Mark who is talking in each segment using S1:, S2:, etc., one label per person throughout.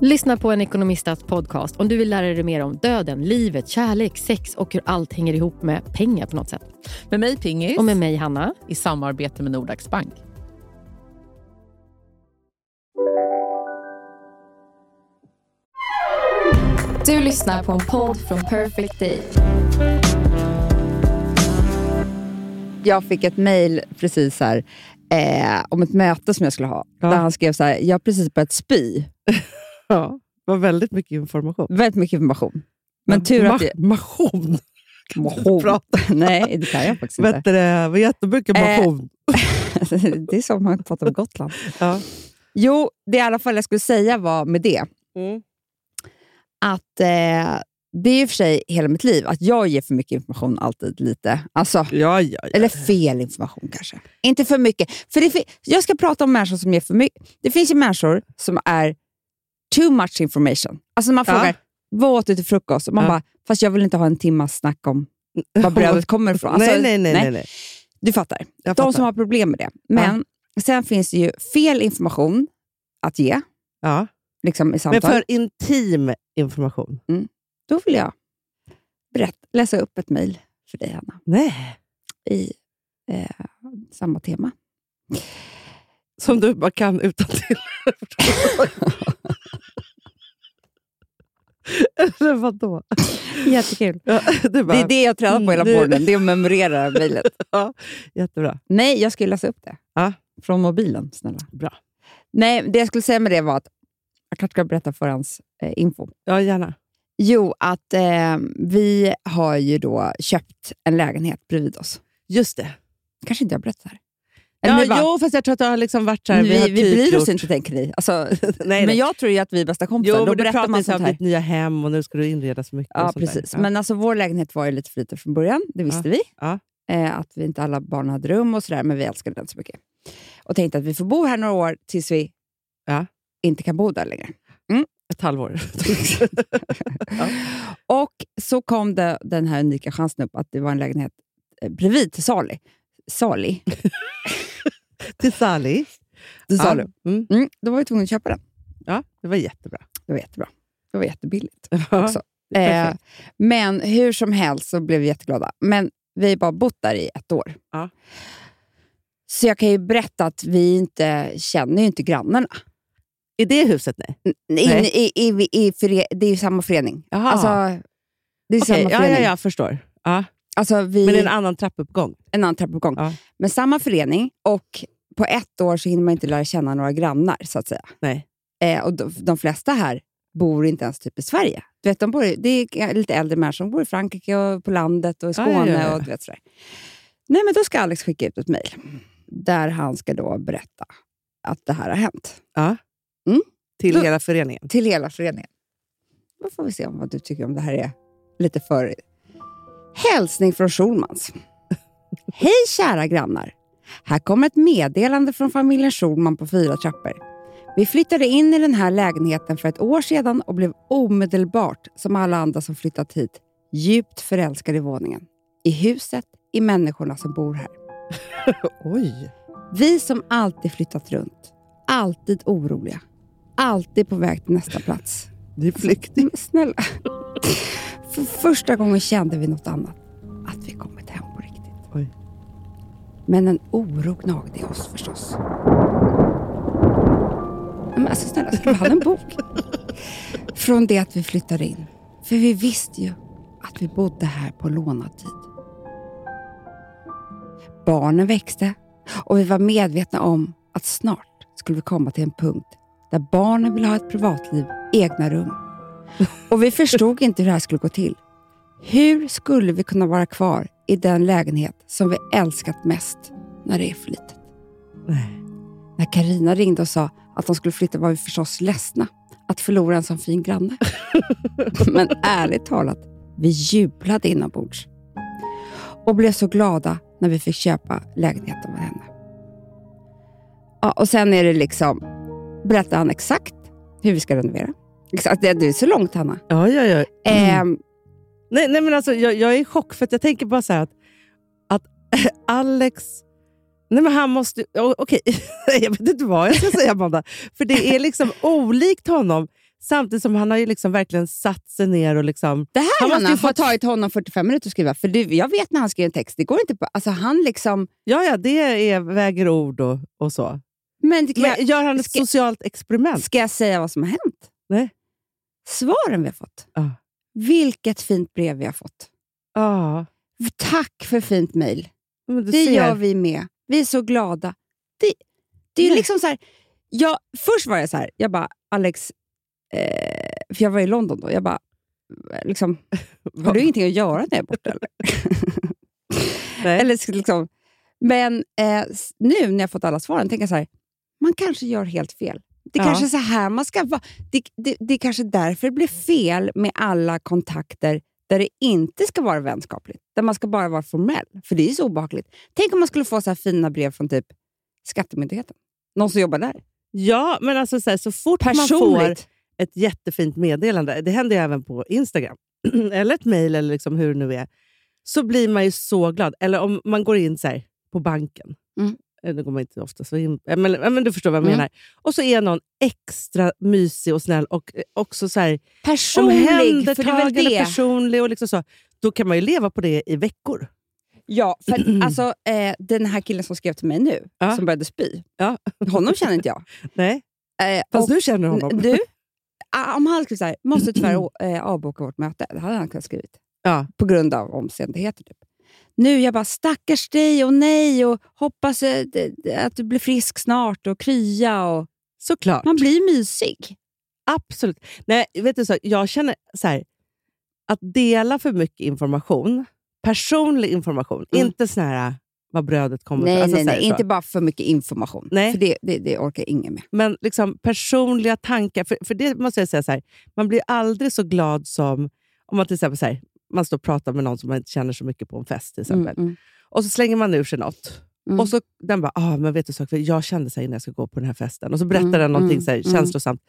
S1: Lyssna på en ekonomistats podcast om du vill lära dig mer om döden, livet, kärlek, sex och hur allt hänger ihop med pengar på något sätt.
S2: Med mig Pingis.
S1: Och med mig Hanna.
S2: I samarbete med Nordax Bank.
S3: Du lyssnar på en podd från Perfect Day.
S4: Jag fick ett mejl precis här eh, om ett möte som jag skulle ha.
S5: Ja.
S4: Där han skrev så här, jag har precis börjat spy.
S5: Ja, det var väldigt mycket information.
S4: Väldigt mycket information. Men tur att jag...
S5: Mation! Kan du
S4: Motion.
S5: prata?
S4: Nej, det kan jag faktiskt
S5: Vet
S4: inte.
S5: du, det var jättemycket
S4: Eh.
S5: mation.
S4: det är som man pratar om Gotland.
S5: Ja.
S4: Jo, det i alla fall jag skulle säga var med det.
S5: Mm.
S4: Att eh, det är i och för sig hela mitt liv, att jag ger för mycket information alltid lite. Alltså,
S5: Ja, ja, ja.
S4: Eller fel information kanske. Inte för mycket. För det fi- jag ska prata om människor som ger för mycket. Det finns ju människor som är too much information. Alltså när man
S5: Ja.
S4: frågar, vad åt du till frukost? Och man
S5: Ja.
S4: bara, fast jag vill inte ha en timmas snack om
S5: eh,
S4: var brödet kommer ifrån. Alltså,
S5: nej, nej, nej, nej. nej.
S4: Du fattar.
S5: Jag
S4: De
S5: fattar.
S4: som har problem med det. Men sen finns det ju fel information att ge
S5: ja.
S4: liksom i samtal.
S5: Men för intim information?
S4: Då vill jag berätt, läsa upp ett mejl för dig, Hanna,
S5: Nej.
S4: i eh, samma tema.
S5: Som du bara kan utan till. Eller vadå?
S4: Jättekul.
S5: Ja, du bara,
S4: Det är det jag tränar på hela
S5: Mm, det-
S4: morgonen, det är att memorera mejlet.
S5: jättebra.
S4: Nej, jag skulle läsa upp det.
S5: Ja.
S4: Från mobilen, snälla.
S5: Bra.
S4: Nej, det jag skulle säga med det var att, jag kanske ska berätta för hans eh, info.
S5: Ja, gärna.
S4: Jo, att eh, vi har ju då köpt en lägenhet bredvid oss.
S5: Just det.
S4: kanske inte jag berättar det här. Eller
S5: Ja,
S4: vi bara,
S5: jo, fast jag tror att det har liksom varit så här,
S4: vi,
S5: har
S4: vi,
S5: typ
S4: bryr
S5: gjort-
S4: oss inte, tänker ni. Alltså,
S5: nej.
S4: men jag tror ju att vi är bästa kompisar.
S5: Jo,
S4: då
S5: men du
S4: berättar
S5: pratar
S4: man
S5: ju så här
S4: sånt
S5: om
S4: här.
S5: ditt nya hem och nu ska du inreda så mycket. och
S4: Ja,
S5: sånt där.
S4: precis.
S5: Ja.
S4: Men alltså, vår lägenhet var ju lite för liten från början, det visste vi.
S5: Ja.
S4: Eh, att vi inte alla barn hade rum och sådär, men vi älskade den så mycket. Och tänkte att vi får bo här några år tills vi
S5: Ja.
S4: inte kan bo där längre.
S5: Ett halvår.
S4: Och så kom det, den här unika chansen upp att det var en lägenhet eh, bredvid till salu. Sali?
S5: Till Sally.
S4: Till salu.
S5: Ja. Mm.
S4: Mm, då var vi tvungna att köpa den.
S5: ja, det var jättebra.
S4: Det var jättebra. Det var jättebilligt.
S5: Ja.
S4: Också. Eh, men hur som helst så blev vi jätteglada. Men vi har bara bott där i ett år.
S5: Ja.
S4: Så jag kan ju berätta att vi inte känner ju inte grannarna.
S5: I det huset, nej?
S4: In,
S5: Nej.
S4: i, i, i, före, det är ju samma förening.
S5: Jaha.
S4: Alltså, det är
S5: Okej,
S4: samma
S5: ja,
S4: förening.
S5: ja, jag förstår. Ja.
S4: Alltså, vi,
S5: Men det är
S4: en,
S5: en annan trappuppgång.
S4: annan trappuppgång.
S5: Ja.
S4: Men samma förening och på ett år så hinner man inte lära känna några grannar, så att säga.
S5: Nej.
S4: Eh, och de, de flesta här bor inte ens typ i Sverige. Du vet, de bor, i- det är lite äldre människor som bor i Frankrike, och på landet och i
S5: Ja, ja,
S4: Skåne.
S5: ja, ja.
S4: Och, du vet, sådär. Nej, men då ska Alex skicka ut ett mejl där han ska då berätta att det här har hänt
S5: Ja.
S4: Mm.
S5: Till
S4: Då-
S5: hela föreningen.
S4: till hela föreningen. Då får vi se om vad du tycker om det här är lite för... Hälsning från Schulmans. Hej kära grannar! Här kommer ett meddelande från familjen Schulman på fyra trappor. Vi flyttade in i den här lägenheten för ett år sedan och blev omedelbart, som alla andra som flyttat hit, djupt förälskade i våningen, i huset, i människorna som bor här.
S5: Oj.
S4: Vi som alltid flyttat runt, alltid oroliga, alltid på väg till nästa plats.
S5: Det är flykting.
S4: Men snälla. För första gången kände vi något annat. Att vi kommit hem på riktigt.
S5: Oj.
S4: Men en oro gnagde i oss förstås. Men alltså snälla, skrev han en bok? Från det att vi flyttade in. För vi visste ju att vi bodde här på lånad tid. Barnen växte och vi var medvetna om att snart skulle vi komma till en punkt där barnen ville ha ett privatliv, egna rum. Och vi förstod inte hur det här skulle gå till. Hur skulle vi kunna vara kvar i den lägenhet som vi älskat mest när det är för litet?
S5: Nej.
S4: När Karina ringde och sa att de skulle flytta var vi förstås ledsna att förlora en sån fin granne. Men ärligt talat, vi jublade inombords och blev så glada när vi fick köpa lägenheten av henne. Ja, och sen är det liksom, berättar han exakt hur vi ska renovera. Exakt, det det är så långt Hanna.
S5: Ja, ja, ja. Mm.
S4: Ehm,
S5: Nej, nej men alltså, jag, jag är i chock, för att jag tänker bara så här att, att Alex... Nej, men han måste... o- Okej, jag vet inte vad jag ska säga, Amanda. För det är liksom olikt honom, samtidigt som han har ju liksom verkligen satt sig ner och liksom...
S4: Det här
S5: Han måste
S4: Hanna,
S5: ju
S4: har
S5: fått-
S4: tagit honom 45 minuter att skriva. För du, jag vet när han skriver en text, det går inte på... Alltså han liksom...
S5: Ja, ja, det är, väger ord och, och så.
S4: Men, det kan
S5: Men gör han ett
S4: ska-
S5: socialt
S4: jag,
S5: experiment?
S4: ska jag säga vad som har hänt?
S5: Nej.
S4: Svaren vi har fått.
S5: Ja.
S4: Vilket fint brev vi har fått.
S5: Ja.
S4: Tack för fint mejl.
S5: men du
S4: Det
S5: ser.
S4: gör vi med. Vi är så glada. Det, det är
S5: Nej.
S4: liksom så här, jag, först var jag så här, jag bara, Alex, eh, för jag var i London då, jag bara, liksom, har du ingenting att göra när jag är borta? Eller?
S5: Nej.
S4: eller så liksom, men eh, s- nu när jag fått alla svaren tänker jag så här, man kanske gör helt fel. Det
S5: Ja.
S4: kanske är så här man ska vara. Det, det, det är kanske därför det blir fel med alla kontakter där det inte ska vara vänskapligt. Där man ska bara vara formell, för det är ju så obehagligt. Tänk om man skulle få så här fina brev från typ Skattemyndigheten. Någon som jobbar där.
S5: Ja, men alltså så, här, så fort man får
S4: Personligt.
S5: ett jättefint meddelande, det händer ju även på Instagram, eller ett mejl eller liksom hur det nu är, så blir man ju så glad. Eller om man går in så här, på banken,
S4: Mm.
S5: Eh, det går man inte ofta så in, eh, men, eh, men du förstår vad jag
S4: Mm.
S5: menar. Och så är någon extra mysig och snäll och eh, också så här,
S4: Personlig, för det är väl
S5: omhändertagande,
S4: det.
S5: personlig. Och liksom så. Då kan man ju leva på det i veckor.
S4: Ja, för att, alltså, eh, den här killen som skrev till mig nu,
S5: Ja.
S4: som började spy,
S5: Ja.
S4: honom känner inte jag.
S5: Nej,
S4: Eh,
S5: fast
S4: och-
S5: du känner honom.
S4: Du, ah, om han skulle säga måste tyvärr å- eh, avboka vårt möte, det hade han kunnat skrivit.
S5: Ja.
S4: På grund av omständigheter. Typ. Nu jag bara, stackars dig och nej och hoppas eh, d- d- att du blir frisk snart och krya. Och...
S5: Såklart.
S4: Man blir mysig.
S5: Absolut. Nej, vet du så, jag känner så här, att dela för mycket information, personlig information,
S4: Mm.
S5: inte sån här vad brödet kommer
S4: Nej,
S5: alltså
S4: nej,
S5: så här
S4: nej.
S5: så.
S4: Inte bara för mycket information.
S5: Nej.
S4: För det, det, det orkar ingen med.
S5: Men liksom personliga tankar, för, för det måste jag säga så här, man blir aldrig så glad som om man till exempel så här, man står och pratar med någon som man inte känner så mycket på en fest till exempel. Och så slänger man ur sig något.
S4: Mm.
S5: Och så den bara, ah, men vet du så, jag kände så här innan jag ska gå på den här festen. Och så berättar
S4: Mm,
S5: den någonting
S4: mm,
S5: så här,
S4: mm.
S5: känslosamt.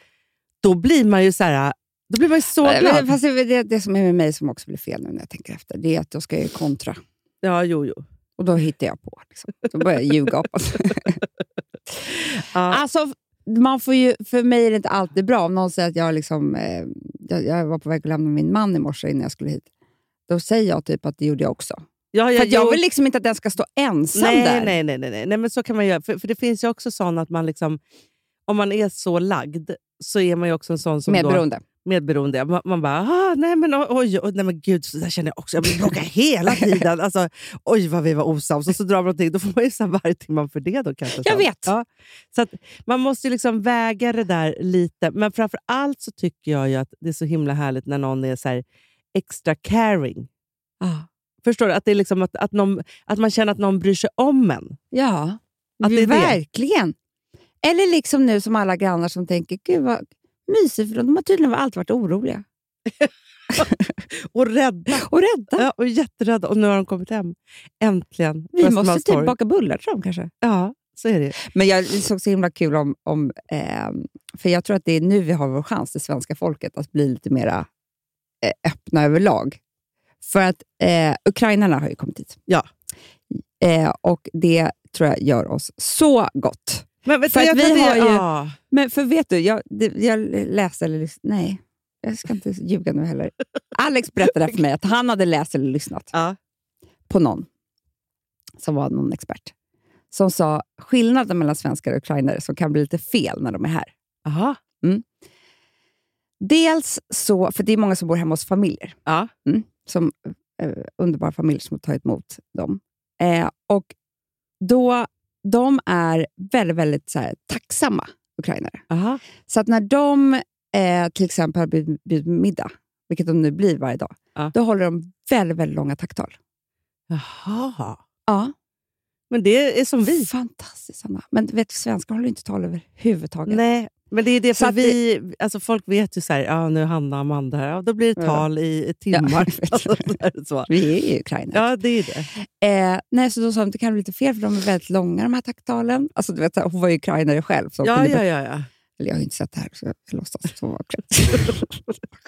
S5: Då blir man ju så här, då blir man ju så
S4: Men-
S5: glad.
S4: Fast det, är väl det, det som är med mig som också blir fel nu när jag tänker efter, det är att då ska jag ju kontra.
S5: Ja, jo, jo.
S4: Och då hittar jag på. Liksom. Då börjar jag ljuga upp.
S5: Ja.
S4: Alltså, man får ju, för mig är det inte alltid bra. Om någon säger att jag, liksom, eh, jag, jag var på väg att lämna min man i morse innan jag skulle hit. Då säger jag typ att det gjorde jag också.
S5: Ja,
S4: För
S5: ja,
S4: att jag
S5: jo.
S4: vill liksom inte att den ska stå ensam
S5: nej,
S4: där.
S5: Nej, nej, nej, nej. nej men så kan man göra. För, för det finns ju också sån att man liksom, om man är så lagd så är man ju också en sån som då,
S4: Medberoende.
S5: medberoende. Man, man bara, ah, nej men oj, oj, oj, nej men gud, så där känner jag också. Jag blir bråka hela tiden. Alltså, oj vad vi var osams. Och så drar man någonting. Då får man ju så här varje timme för det då kanske.
S4: Jag
S5: sen.
S4: vet.
S5: Ja. Så att man måste ju liksom väga det där lite. Men framför allt så tycker jag ju att det är så himla härligt när någon är så här extra caring. Ah. Förstår du? Att, det är liksom att, att, någon, att man känner att någon bryr sig om en.
S4: Ja,
S5: Att det är det.
S4: verkligen. Eller liksom nu som alla grannar som tänker, gud vad mysigt, för de har tydligen alltid varit oroliga
S5: Och rädda.
S4: och rädda.
S5: Ja, och jätterädda. Och nu har de kommit hem. Äntligen.
S4: Vi måste
S5: Västermalmstorg.
S4: typ baka bullar till dem kanske.
S5: Ja, så är det ju.
S4: Men jag det såg så himla kul om... om ehm, för jag tror att det är nu vi har vår chans, det svenska folket, att bli lite mera eh, öppna överlag. För att eh, ukrainarna har ju kommit hit.
S5: Ja.
S4: Eh, och det tror jag gör oss så gott.
S5: Men vet
S4: För
S5: du,
S4: att
S5: jag
S4: vi
S5: tror det-
S4: har ju-
S5: Ja.
S4: Men för vet du, jag, det, jag läste eller lyssnade... Nej, jag ska inte ljuga nu heller. Alex berättade för mig att han hade läst eller lyssnat
S5: Ja.
S4: på någon som var någon expert som sa skillnaden mellan svenskar och ukrainare som kan bli lite fel när de är här.
S5: Aha.
S4: Dels så, för det är många som bor hemma hos familjer,
S5: Ja.
S4: mm, som eh, underbara familjer som har tagit emot dem. Eh, och då, De är väldigt, väldigt så här, tacksamma ukrainare.
S5: Aha.
S4: Så att när de eh, till exempel har bjud- bjudit middag, vilket de nu blir varje dag,
S5: Ja.
S4: då håller de väldigt, väldigt långa tacktal.
S5: Jaha.
S4: Ja.
S5: Men det är som vi.
S4: Fantastiskt, Anna. Men du vet, svenskar håller inte tal överhuvudtaget.
S5: Nej, Men det är det,
S4: Så
S5: för
S4: att det-
S5: vi, alltså folk vet ju så här, ja, nu är Hanna och Amanda här. Ja, då blir det
S4: Ja.
S5: tal i i timmar.
S4: jag vet.
S5: alltså, så här, så.
S4: Vi är i Ukraina.
S5: Ja, det är det.
S4: Eh, nej, så då sa de att det kan bli lite fel för de är väldigt långa de här tacktalen. Alltså, du vet, hon var ju ukrainare själv. Så hon
S5: Ja,
S4: kunde
S5: ja, ja, ja.
S4: Eller jag har ju inte sett det här, så jag låtsas att hon var klädd.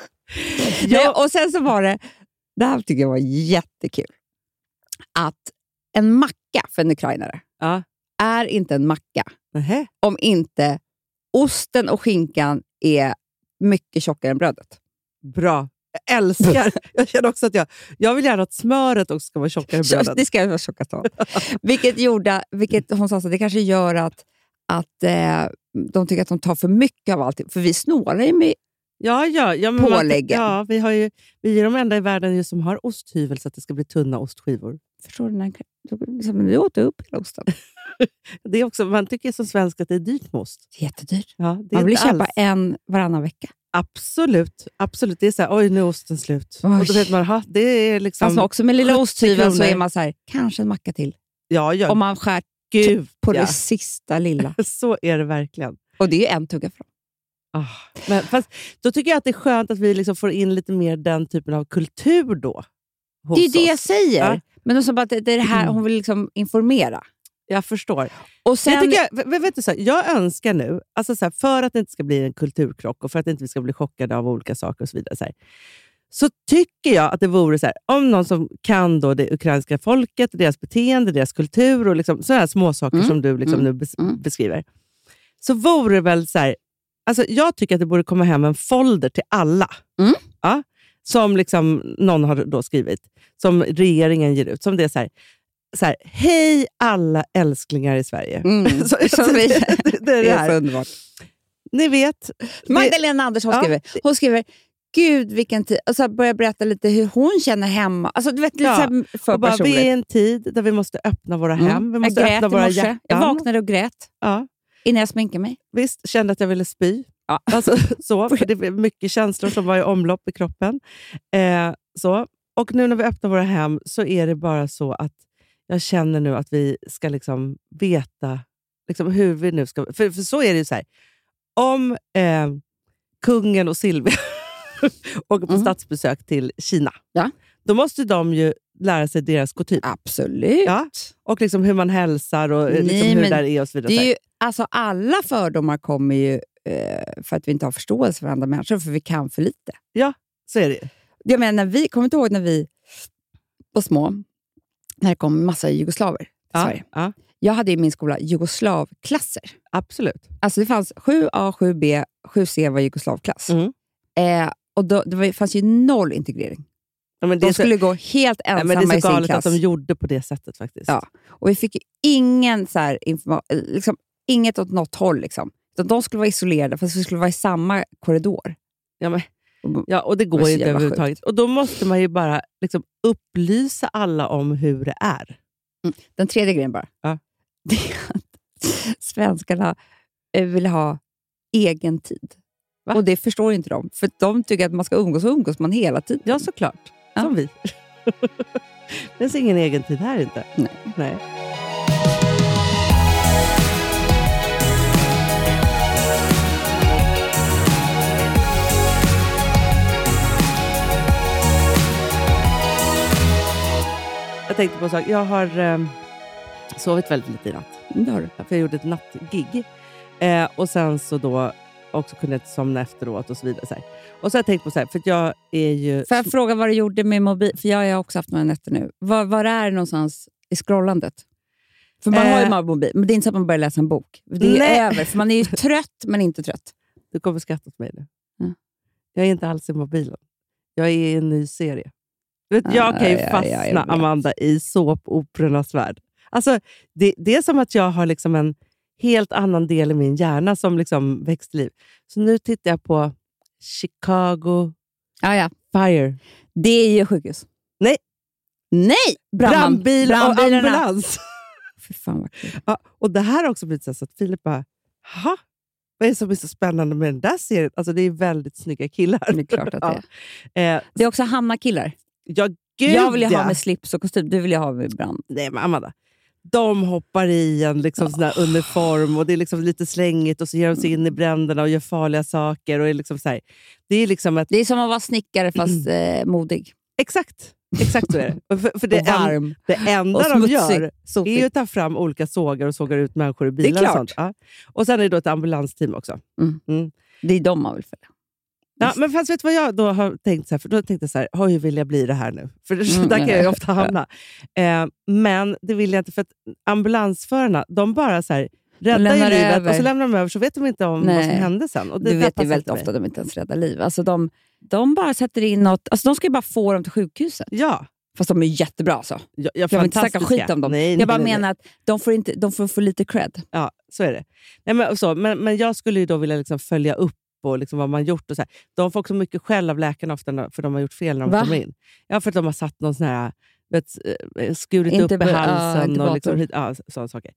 S4: Nej, Och sen så var det, det här tycker jag var jättekul, att en macka för en ukrainare
S5: Ja.
S4: är inte en macka
S5: Nähä.
S4: om inte osten och skinkan är mycket tjockare än brödet.
S5: Bra. Jag älskar. Jag känner också att jag, jag vill gärna att smöret också ska vara tjockare än brödet.
S4: Det ska jag vara tjockast av. Vilket, gjorde, vilket hon sa att det kanske gör att, att eh, de tycker att de tar för mycket av allting. För vi snålar ju med...
S5: Ja, ja, ja, men man-
S4: Påläggen.
S5: Ja, vi, har ju, vi är de enda i världen ju som har osthyvel så att det ska bli tunna ostskivor.
S4: Förstår du? När, liksom, du åt upp hela osten.
S5: Det är också, man tycker som svensk att det är dyrt med ost.
S4: Jättedyrt.
S5: Ja, det är
S4: Man vill
S5: inte
S4: köpa
S5: alls-
S4: en varannan vecka.
S5: Absolut. absolut. Det är så här, oj nu är osten slut.
S4: Oj.
S5: Och då vet man, ha, det är liksom...
S4: Fast också med lilla
S5: 70
S4: osthyveln så
S5: kronor.
S4: är man så här, kanske en macka till.
S5: ja, ja,
S4: Om man skär
S5: gud
S4: typ på
S5: ja.
S4: det sista lilla.
S5: Så är det verkligen.
S4: Och det är ju en tugga för dem.
S5: Ah, men, fast, då tycker jag att det är skönt att vi liksom får in lite mer den typen av kultur då. hos
S4: Det är ju det jag
S5: oss.
S4: säger.
S5: Ja.
S4: Men de sa bara att det det är det här hon vill liksom informera.
S5: Jag förstår.
S4: Och
S5: Jag,
S4: sen,
S5: tycker, jag- vet- vet du, så här, jag önskar nu, alltså så här, för att det inte ska bli en kulturkrock och för att inte vi ska bli chockade av olika saker och så vidare, så, här, så tycker jag att det vore så här, om någon som kan då det ukrainska folket, deras beteende, deras kultur och liksom, sådana här småsaker
S4: Mm.
S5: som du liksom
S4: Mm.
S5: nu bes-
S4: Mm.
S5: beskriver. Så vore det väl så här, alltså jag tycker att det borde komma hem en folder till alla.
S4: Mm.
S5: Ja, som liksom någon har då skrivit, som regeringen ger ut. Som det är så här, så här, hej alla älsklingar i Sverige.
S4: Mm.
S5: Så-
S4: Som vi-
S5: det, det, det är
S4: det
S5: det
S4: är så
S5: här.
S4: underbart.
S5: Ni vet. det-
S4: Magdalena Andersson
S5: Ja.
S4: skriver, hon skriver, Gud vilken tid. Och så här börjar jag berätta lite hur hon känner hemma. Alltså du vet, lite
S5: Ja.
S4: så här för
S5: och bara, vi
S4: personligt.
S5: är i en tid där vi måste öppna våra
S4: Mm.
S5: hem. Vi måste
S4: jag grät
S5: öppna
S4: i
S5: våra
S4: morse. Jag
S5: hjärtan.
S4: vaknade och grät
S5: Ja,
S4: innan jag sminkade mig.
S5: visst, kände att jag ville spy.
S4: Ja.
S5: Alltså, så, för det var mycket känslor som var i omlopp i kroppen. Eh, så. Och nu när vi öppnar våra hem så är det bara så att jag känner nu att vi ska liksom veta liksom hur vi nu ska... För, för så är det ju så här. Om eh, kungen och Silvia åker på
S4: Mm.
S5: statsbesök till Kina,
S4: Ja.
S5: då måste de ju lära sig deras kutym.
S4: Absolut.
S5: Ja, och liksom hur man hälsar och eh,
S4: Nej,
S5: liksom hur det
S4: men
S5: där är och så vidare.
S4: Det är ju, alltså alla fördomar kommer ju eh, för att vi inte har förståelse för andra människor, för vi kan för lite.
S5: Så är det ju.
S4: Jag menar, när vi, kommer du inte ihåg när vi var små, när det kom massa jugoslaver till
S5: Ja,
S4: Sverige?
S5: ja,
S4: Jag hade i min skola jugoslavklasser.
S5: absolut.
S4: Alltså det fanns 7A, 7B, 7C var jugoslavklass.
S5: Mm.
S4: Eh, och då, det var, fanns ju noll integrering.
S5: Ja, men det,
S4: De
S5: är så,
S4: skulle gå helt
S5: ja, men det är
S4: ensamma
S5: så
S4: i sin
S5: galet att
S4: klass.
S5: de gjorde på det sättet faktiskt.
S4: Ja. Och vi fick ju ingen så här, informa- liksom, inget åt något håll. Liksom. Utan De skulle vara isolerade, fast vi skulle vara i samma korridor.
S5: Ja, men,
S4: Och-
S5: ja, och det går
S4: så
S5: ju inte
S4: jävla
S5: överhuvudtaget. Och då måste man ju bara liksom, upplysa alla om hur det är.
S4: Den tredje grejen bara.
S5: Ja.
S4: Det är att svenskarna eh, vill ha egen tid.
S5: Va?
S4: Och det förstår inte de. För de tycker att man ska umgås och umgås man hela tiden.
S5: Ja, såklart.
S4: Ja.
S5: Som vi. det finns ingen egen tid här inte.
S4: Nej.
S5: Nej. Jag tänkte på en sak. Jag har ehm, sovit väldigt lite i natt.
S4: Mm, Det har du.
S5: Ja, För jag gjorde ett nattgig. Eh, och sen så då också kunde jag inte somna efteråt och så vidare. Så här. Och så har jag tänkt på så här, för att jag är ju...
S4: Får jag fråga vad du gjorde med mobil? För jag har ju också haft några nätter nu. Var, var är det någonstans i scrollandet? För man har ju
S5: Eh.
S4: bara mobil, men det är inte så att man börjar läsa en bok. Det är ju
S5: Nej.
S4: över, för man är ju trött men inte trött.
S5: Du kommer skratta åt mig nu.
S4: Mm.
S5: Jag är inte alls i mobilen. Jag är i en ny serie. Du vet, jag
S4: Ah,
S5: kan ju
S4: ja, ja,
S5: fastna,
S4: jag vet.
S5: Amanda, i såpoperornas värld. Alltså, det, det är som att jag har liksom en helt annan del i min hjärna som liksom växt liv. Så nu tittar jag på Chicago
S4: Ja, ja.
S5: Fire.
S4: Det är ju sjukhus.
S5: Nej.
S4: Nej! Brandman.
S5: Brandbil och
S4: Brandbilarna.
S5: ambulans.
S4: Fy fan vad kul.
S5: Ja, och det här har också blivit så, här så att Filip bara, jaha, vad är det som är så spännande med den där serien? Alltså det är väldigt snygga killar.
S4: Det är klart att det är.
S5: Ja, eh,
S4: Det är också Hanna-killar.
S5: ja gud
S4: jag vill ju
S5: ja.
S4: ha med slips och kostym, du vill ju ha med brand.
S5: Nej men Amanda, de hoppar i en liksom, sån här uniform och det är liksom lite slängigt och så ger de sig in i bränderna och gör farliga saker. Och är liksom så här. Det är liksom ett,
S4: Det är som att vara snickare fast eh, modig.
S5: exakt, exakt så är det. Och För, för Mm. det,
S4: och
S5: en-
S4: varm.
S5: det enda
S4: och
S5: de
S4: smutsig.
S5: gör
S4: Sotig.
S5: är ju att ta fram olika sågar och sågar ut människor ur bilar.
S4: klart.
S5: Och, sånt. Ja. och sen är det då ett ambulansteam också.
S4: Det är de man vill följa.
S5: Ja, men fast vet du vad jag då har tänkt? Så här, för då tänkte jag så här, oj, vill jag bli det här nu? För
S4: Mm,
S5: där
S4: nej,
S5: kan jag ju ofta hamna. Eh, men det vill jag inte, för att ambulansförarna, de bara så här, räddar ju
S4: lämnar
S5: livet
S4: över.
S5: och så lämnar de över, så vet de inte om vad som
S4: Nej.
S5: hände sen. Och det,
S4: Du
S5: där
S4: vet ju
S5: passar
S4: väldigt
S5: inte mig.
S4: ofta att de inte ens räddar liv. Alltså de, de bara sätter in något. Alltså de ska ju bara få dem till sjukhuset.
S5: Ja,
S4: Fast de är jättebra alltså.
S5: ja, ja
S4: Jag vill inte snacka
S5: fantastiska.
S4: skit om dem.
S5: Nej, nej,
S4: jag bara
S5: nej, nej.
S4: menar att de får, inte, de får för lite cred.
S5: Ja, så är det. Nej, men, och så, men, men jag skulle ju då vilja liksom följa upp och liksom vad man gjort. Och så här. De får också mycket skäll av läkarna ofta när- för de har gjort fel när de
S4: Va?
S5: kommer in. Ja, för att de har satt någon sån här, vet, eh, skurit upp i
S4: Intube- ja,
S5: halsen. och
S4: intubator.
S5: liksom, hit- ja, så- sådana saker.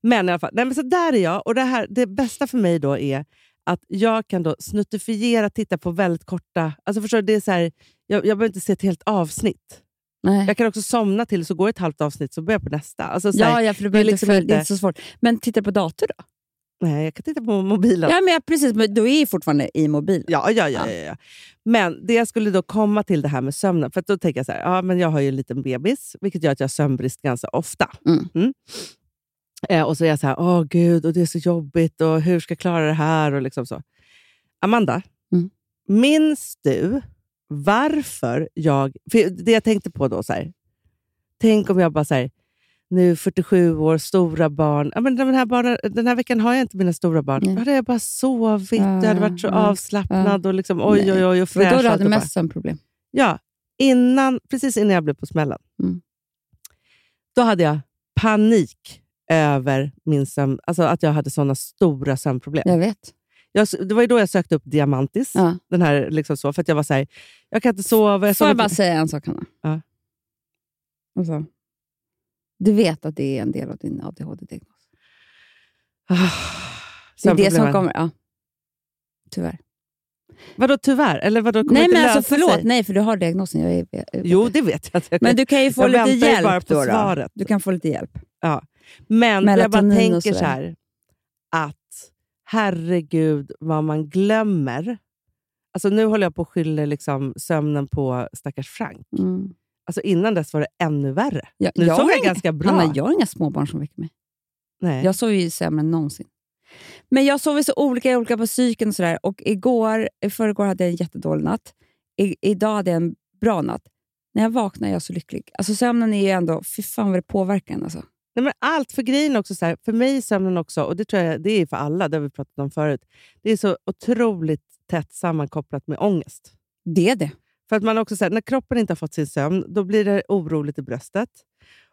S5: Men i alla fall, nej, men så där är jag. Och det, här, det bästa för mig då är att jag kan då snuttifiera, titta på väldigt korta... Alltså förstår du, det är så här, jag, jag behöver inte se ett helt avsnitt.
S4: Nej.
S5: Jag kan också somna till, så går ett halvt avsnitt så börjar jag på nästa. Alltså, så här,
S4: Ja, ja, för du behöver
S5: liksom
S4: inte följa, det
S5: inte-
S4: är inte så svårt. Men titta på dator då.
S5: Nej, jag kan titta på mobilen.
S4: Ja, men jag, precis. Men du är ju fortfarande i mobilen.
S5: Ja, ja, ja,
S4: Ja.
S5: ja. ja. Men det jag skulle då komma till det här med sömnen. För att då tänker jag så här, ja, men jag har ju en liten bebis, vilket gör att jag har sömnbrist ganska ofta.
S4: Mm.
S5: Eh, och så är jag så här, åh gud, och det är så jobbigt och hur ska jag klara det här? Och liksom så. Amanda,
S4: Mm.
S5: minns du varför jag... För det jag tänkte på då, så här, tänk om jag bara så här, nu 47 år, stora barn. Ja, men den, här barnen, den här veckan har jag inte mina stora barn.
S4: Nej.
S5: Då hade jag bara sovit, jag hade varit så
S4: Ja, ja.
S5: avslappnad och liksom, oj, oj, oj, och
S4: Det var
S5: fräsch.
S4: då
S5: och
S4: du
S5: allt
S4: hade
S5: och bara-
S4: mest sömnproblem.
S5: Ja, innan, precis innan jag blev på smällen.
S4: Mm.
S5: Då hade jag panik över min sömn, alltså att jag hade sådana stora sömnproblem.
S4: Jag vet.
S5: Jag, det var ju då jag sökte upp Diamantis,
S4: Ja.
S5: den här liksom så, för att jag var så här, jag kan inte sova. Jag
S4: Får
S5: sover
S4: jag bara
S5: inte-
S4: säga en sak, Hanna?
S5: Ja.
S4: Alltså, du vet att det är en del av din ADHD-diagnos.
S5: Ah,
S4: Det är det som
S5: sömnproblemen.
S4: kommer. Ja. Tyvärr.
S5: Vadå tyvärr? Eller vadå, kommer
S4: Nej,
S5: inte
S4: men alltså
S5: lösa
S4: förlåt.
S5: sig?
S4: Nej, för du har diagnosen. Jag är,
S5: Jo, det vet jag. Att jag
S4: men
S5: kan-
S4: du kan ju få
S5: jag
S4: lite
S5: väntar ju
S4: hjälp
S5: bara på
S4: då, då.
S5: svaret.
S4: Du kan få lite hjälp.
S5: Men jag bara
S4: Melatonin och
S5: tänker
S4: sådär.
S5: så här, att herregud vad man glömmer. Alltså nu håller jag på och skyller liksom sömnen på stackars Frank.
S4: Mm.
S5: Alltså innan dess var det ännu värre.
S4: Jag,
S5: Nu
S4: jag,
S5: sover
S4: har
S5: jag
S4: inga,
S5: ganska bra.
S4: Hanna, jag har inga småbarn som väcker mig.
S5: Nej.
S4: Jag sover ju sämre än någonsin. Men jag sover så olika, jag är olika på psyken och sådär. Och igår, i förrgår hade jag en jättedålig natt. I, idag hade jag en bra natt. När jag vaknar är jag så lycklig. Alltså sömnen är ju ändå, fy fan vad det påverkar en alltså.
S5: Nej, men allt för grejen också, så här, för mig är sömnen också, och det tror jag det är för alla, det har vi pratat om förut, det är så otroligt tätt sammankopplat med ångest.
S4: Det är det.
S5: För att man också så här, när kroppen inte har fått sin sömn, då blir det oroligt i bröstet.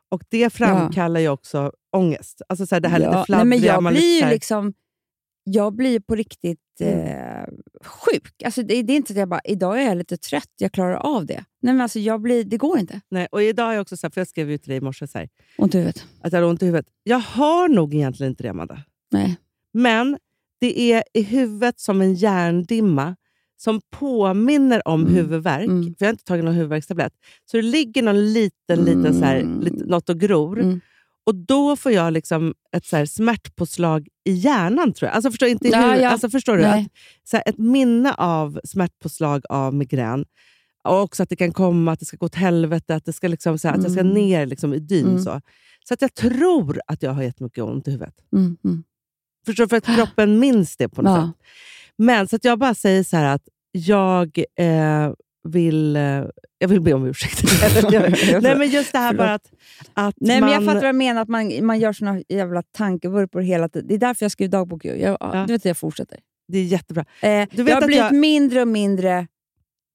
S5: Och det framkallar ju också ångest. Alltså så här, det här lite
S4: Nej,
S5: fladdriga.
S4: men jag
S5: man
S4: blir
S5: lite så
S4: ju
S5: här- Mm.
S4: liksom, jag blir ju på riktigt eh, sjuk. Alltså det, det är inte så att jag bara, idag är jag lite trött, jag klarar av det. Nej men alltså jag blir, det går inte.
S5: Nej, och idag är jag också så här, för jag skrev ju till dig i morse så här,
S4: Ont i huvudet.
S5: att jag hade ont i huvudet. Jag har nog egentligen inte det, Amanda.
S4: Nej.
S5: Men det är i huvudet som en hjärndimma som påminner om
S4: Mm.
S5: huvudvärk.
S4: Mm.
S5: För jag har inte tagit någon huvudvärkstablett. Så det ligger någon liten, liten så här,
S4: Mm.
S5: lite, något och gror.
S4: Mm.
S5: Och då får jag liksom ett så här smärtpåslag i hjärnan, tror jag. Alltså förstår, inte i
S4: Ja,
S5: huvudet.
S4: ja.
S5: Alltså, förstår du?
S4: Nej.
S5: Att, så här, ett minne av smärtpåslag av migrän. Och också att det kan komma, att det ska gå åt helvete, att, det ska liksom, så här, att jag ska
S4: Mm.
S5: ner liksom, i dyn.
S4: Mm.
S5: Så, så att jag tror att jag har jättemycket ont i huvudet.
S4: Mm, mm.
S5: Förstår du? För att kroppen minns det på något
S4: Ah. Ja.
S5: sätt. Men så att jag bara säger så här att jag eh, vill... Eh, jag vill be om ursäkt. Nej, men just det här bara att, att
S4: Nej,
S5: man...
S4: men jag fattar vad jag menar, att man, man gör såna jävla tankevurpor hela tiden. Det är därför jag skriver dagbok. ju. Jag,
S5: Ja.
S4: Du vet, jag fortsätter.
S5: Det är jättebra.
S4: Eh,
S5: Du
S4: jag
S5: vet
S4: har
S5: att
S4: blivit
S5: jag-
S4: mindre och mindre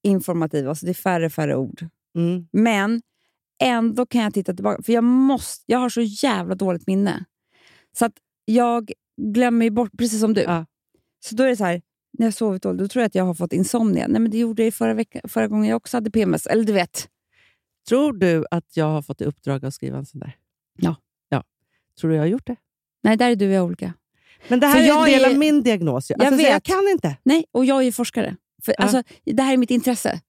S4: informativ, alltså det är färre färre ord.
S5: Mm.
S4: Men ändå kan jag titta tillbaka, för jag, måste, jag har så jävla dåligt minne. Så att jag glömmer ju bort, precis som du.
S5: Ja.
S4: Så då är det så här, när jag sovit dåligt, då tror jag att jag har fått insomnia. Nej, men det gjorde jag ju förra, vecka, förra gången jag också hade PMS. Eller du vet.
S5: Tror du att jag har fått i uppdrag att skriva en sån där?
S4: Ja.
S5: ja. Tror du jag har gjort det?
S4: Nej, där är du och jag olika.
S5: Men det här
S4: För
S5: är
S4: jag
S5: en del
S4: är-
S5: av min diagnos. ju.
S4: Jag
S5: Alltså, så jag
S4: vet.
S5: kan inte.
S4: Nej, och jag är ju forskare. För,
S5: Ja.
S4: alltså, det här är mitt intresse.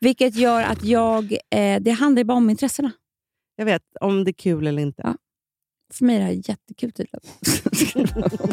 S4: Vilket gör att jag... Eh, det handlar ju bara om intressena.
S5: Jag vet om det är kul eller inte.
S4: Ja. För mig är det här jättekul typ. tydligen.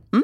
S4: Mm.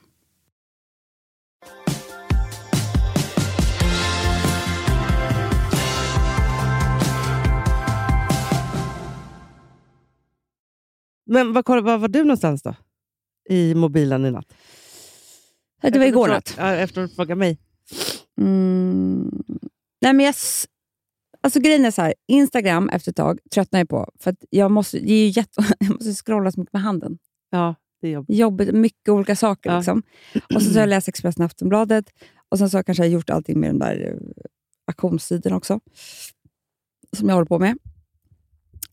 S5: Men vad, kolla, var var du någonstans då? I mobilen i natt?
S4: Det var igår natt.
S5: Efter att du frågade mig.
S4: Mm, Nej, men jag, s- alltså grejen är så här, Instagram efter ett tag tröttnar jag på. För att jag måste, det är ju jätte, jag måste scrolla så mycket med handen.
S5: Ja, det är jobbigt.
S4: Jobbigt, mycket olika saker.
S5: Ja.
S4: Liksom. Och sen så har jag läst Expressen och Aftonbladet. Och sen så har jag kanske gjort allting med den där eh, auktionssidorna också. Som jag håller på med.